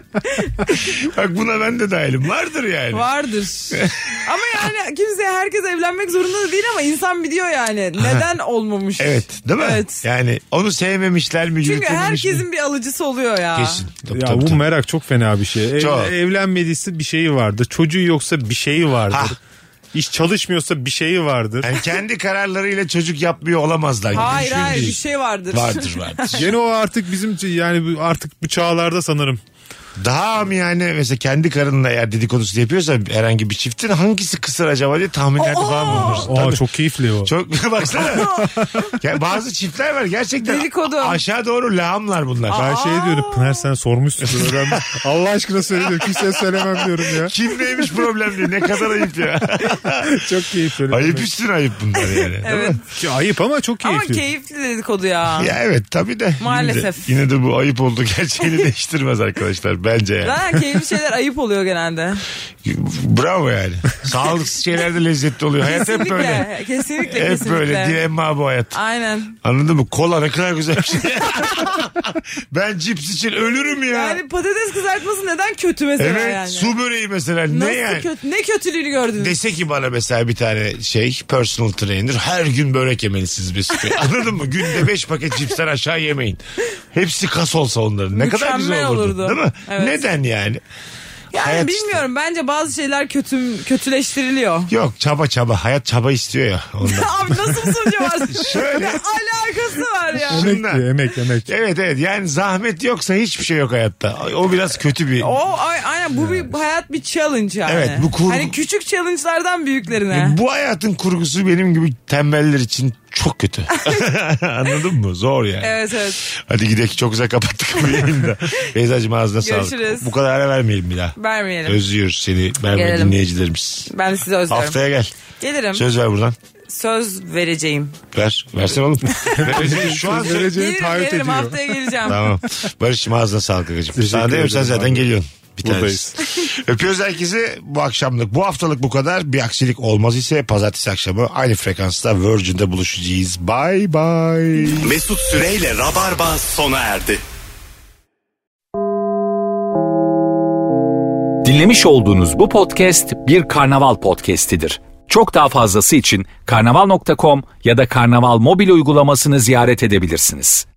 [SPEAKER 2] Bak buna ben de dahilim. Vardır yani.
[SPEAKER 4] Vardır. ama yani kimse herkes evlenmek zorunda da değil ama insan biliyor yani neden olmamış.
[SPEAKER 2] Evet değil mi?
[SPEAKER 4] Evet.
[SPEAKER 2] Yani onu sevmemişler mi?
[SPEAKER 4] Çünkü
[SPEAKER 2] yürütememiş mi?
[SPEAKER 4] herkesin bir alıcısı oluyor ya.
[SPEAKER 2] Kesin. Tabii,
[SPEAKER 3] Ya
[SPEAKER 2] tabii,
[SPEAKER 3] bu
[SPEAKER 2] tabii.
[SPEAKER 3] merak çok fena bir şey. Ev-
[SPEAKER 2] Çok.
[SPEAKER 3] evlenmediyse bir şeyi vardı. Çocuğu yoksa bir şeyi vardır.
[SPEAKER 2] Ha.
[SPEAKER 3] iş çalışmıyorsa bir şeyi vardır.
[SPEAKER 2] Yani kendi kararlarıyla çocuk yapmıyor olamazlar. gibi
[SPEAKER 4] Hayır
[SPEAKER 2] düşünüyor
[SPEAKER 4] hayır bir
[SPEAKER 2] değil.
[SPEAKER 4] şey vardır.
[SPEAKER 2] Vardır vardır.
[SPEAKER 3] Gene o artık bizim ç- yani bu- artık bu çağlarda sanırım.
[SPEAKER 2] Daha mı yani mesela kendi karınla eğer dedikodusunu yapıyorsa herhangi bir çiftin hangisi kısır acaba diye tahminlerde falan bulunursun.
[SPEAKER 3] Aa
[SPEAKER 2] Tabii.
[SPEAKER 3] çok keyifli o.
[SPEAKER 2] Çok baksana. ya bazı çiftler var gerçekten.
[SPEAKER 4] Dedikodu.
[SPEAKER 2] Aşağı doğru lağımlar bunlar.
[SPEAKER 3] Ben şey diyorum Pınar sen sormuşsun. Ben Allah aşkına söylüyorum. Kimseye söylemem diyorum ya.
[SPEAKER 2] Kim neymiş problem diye. Ne kadar ayıp ya.
[SPEAKER 3] Çok keyifli.
[SPEAKER 2] ayıp üstüne ayıp bunlar yani.
[SPEAKER 4] Evet.
[SPEAKER 3] Ki Ayıp ama çok
[SPEAKER 4] Ama
[SPEAKER 3] keyifli.
[SPEAKER 4] keyifli dedikodu ya.
[SPEAKER 2] Ya evet tabii de.
[SPEAKER 4] Maalesef.
[SPEAKER 2] Yine de, yine de bu ayıp olduğu gerçeğini değiştirmez arkadaşlar bence yani.
[SPEAKER 4] Zaten keyifli şeyler ayıp oluyor genelde.
[SPEAKER 2] Bravo yani. Sağlıksız şeyler de lezzetli oluyor. Hayat hep böyle.
[SPEAKER 4] Kesinlikle. Kesinlikle.
[SPEAKER 2] Hep
[SPEAKER 4] kesinlikle.
[SPEAKER 2] böyle dilemma bu hayat.
[SPEAKER 4] Aynen.
[SPEAKER 2] Anladın mı? Kola ne kadar güzel bir şey. ben cips için ölürüm ya.
[SPEAKER 4] Yani patates kızartması neden kötü mesela
[SPEAKER 2] evet
[SPEAKER 4] yani?
[SPEAKER 2] su böreği mesela
[SPEAKER 4] Nasıl
[SPEAKER 2] ne yani?
[SPEAKER 4] kötü, ne kötülüğünü gördünüz?
[SPEAKER 2] Dese ki bana mesela bir tane şey personal trainer her gün börek yemelisiniz Mesut Bey. Anladın mı? Günde 5 paket cipsten aşağı yemeyin. Hepsi kas olsa onların. Ne kadar güzel
[SPEAKER 4] Mükemmel
[SPEAKER 2] olurdu.
[SPEAKER 4] olurdu.
[SPEAKER 2] Değil mi?
[SPEAKER 4] Evet.
[SPEAKER 2] Neden yani?
[SPEAKER 4] yani
[SPEAKER 2] hayat işte.
[SPEAKER 4] bilmiyorum bence bazı şeyler kötü kötüleştiriliyor.
[SPEAKER 2] Yok çaba çaba. Hayat çaba istiyor ya ondan.
[SPEAKER 4] Abi nasıl bir sonucu var?
[SPEAKER 2] Şöyle.
[SPEAKER 4] Ne alakası var ya?
[SPEAKER 3] Emek
[SPEAKER 2] Şundan.
[SPEAKER 3] diyor, emek emek.
[SPEAKER 2] Evet evet yani zahmet yoksa hiçbir şey yok hayatta. O biraz kötü bir...
[SPEAKER 4] O ay- aynen bu bir hayat bir challenge yani.
[SPEAKER 2] Evet, bu kurgu-
[SPEAKER 4] Hani küçük challenge'lardan büyüklerine.
[SPEAKER 2] Yani Bu hayatın kurgusu benim gibi tembeller için çok kötü. Anladın mı? Zor yani.
[SPEAKER 4] Evet evet
[SPEAKER 2] Hadi gidelim çok güzel kapattık bu yayını da. Beyzacığım ağzına
[SPEAKER 4] Görüşürüz.
[SPEAKER 2] sağlık. Bu kadar ara vermeyelim bir daha.
[SPEAKER 4] vermeyelim.
[SPEAKER 2] Özlüyoruz seni. Ben
[SPEAKER 4] Gelelim.
[SPEAKER 2] dinleyicilerimiz.
[SPEAKER 4] ben de sizi özlerim.
[SPEAKER 2] Haftaya gel.
[SPEAKER 4] Gelirim. Söz,
[SPEAKER 2] Söz ver buradan.
[SPEAKER 4] vereceğim.
[SPEAKER 2] Ver. Versene oğlum. Şu an söz-
[SPEAKER 3] Vereceğini
[SPEAKER 4] Gelirim
[SPEAKER 3] taahhüt
[SPEAKER 4] gelirim
[SPEAKER 3] ediyor.
[SPEAKER 4] haftaya geleceğim.
[SPEAKER 2] Tamam. Barış'cığım ağzına sağlık kakacığım. Sana
[SPEAKER 3] Teşekkür
[SPEAKER 2] demiyorum sen
[SPEAKER 3] ederim
[SPEAKER 2] zaten
[SPEAKER 3] abi.
[SPEAKER 2] geliyorsun. Bir
[SPEAKER 3] Buradayız.
[SPEAKER 2] tanesi. Öpüyoruz herkesi bu akşamlık. Bu haftalık bu kadar. Bir aksilik olmaz ise pazartesi akşamı aynı frekansta Virgin'de buluşacağız. Bye bye.
[SPEAKER 1] Mesut Süreyle Rabarba sona erdi.
[SPEAKER 9] Dinlemiş olduğunuz bu podcast bir karnaval podcastidir. Çok daha fazlası için karnaval.com ya da karnaval mobil uygulamasını ziyaret edebilirsiniz.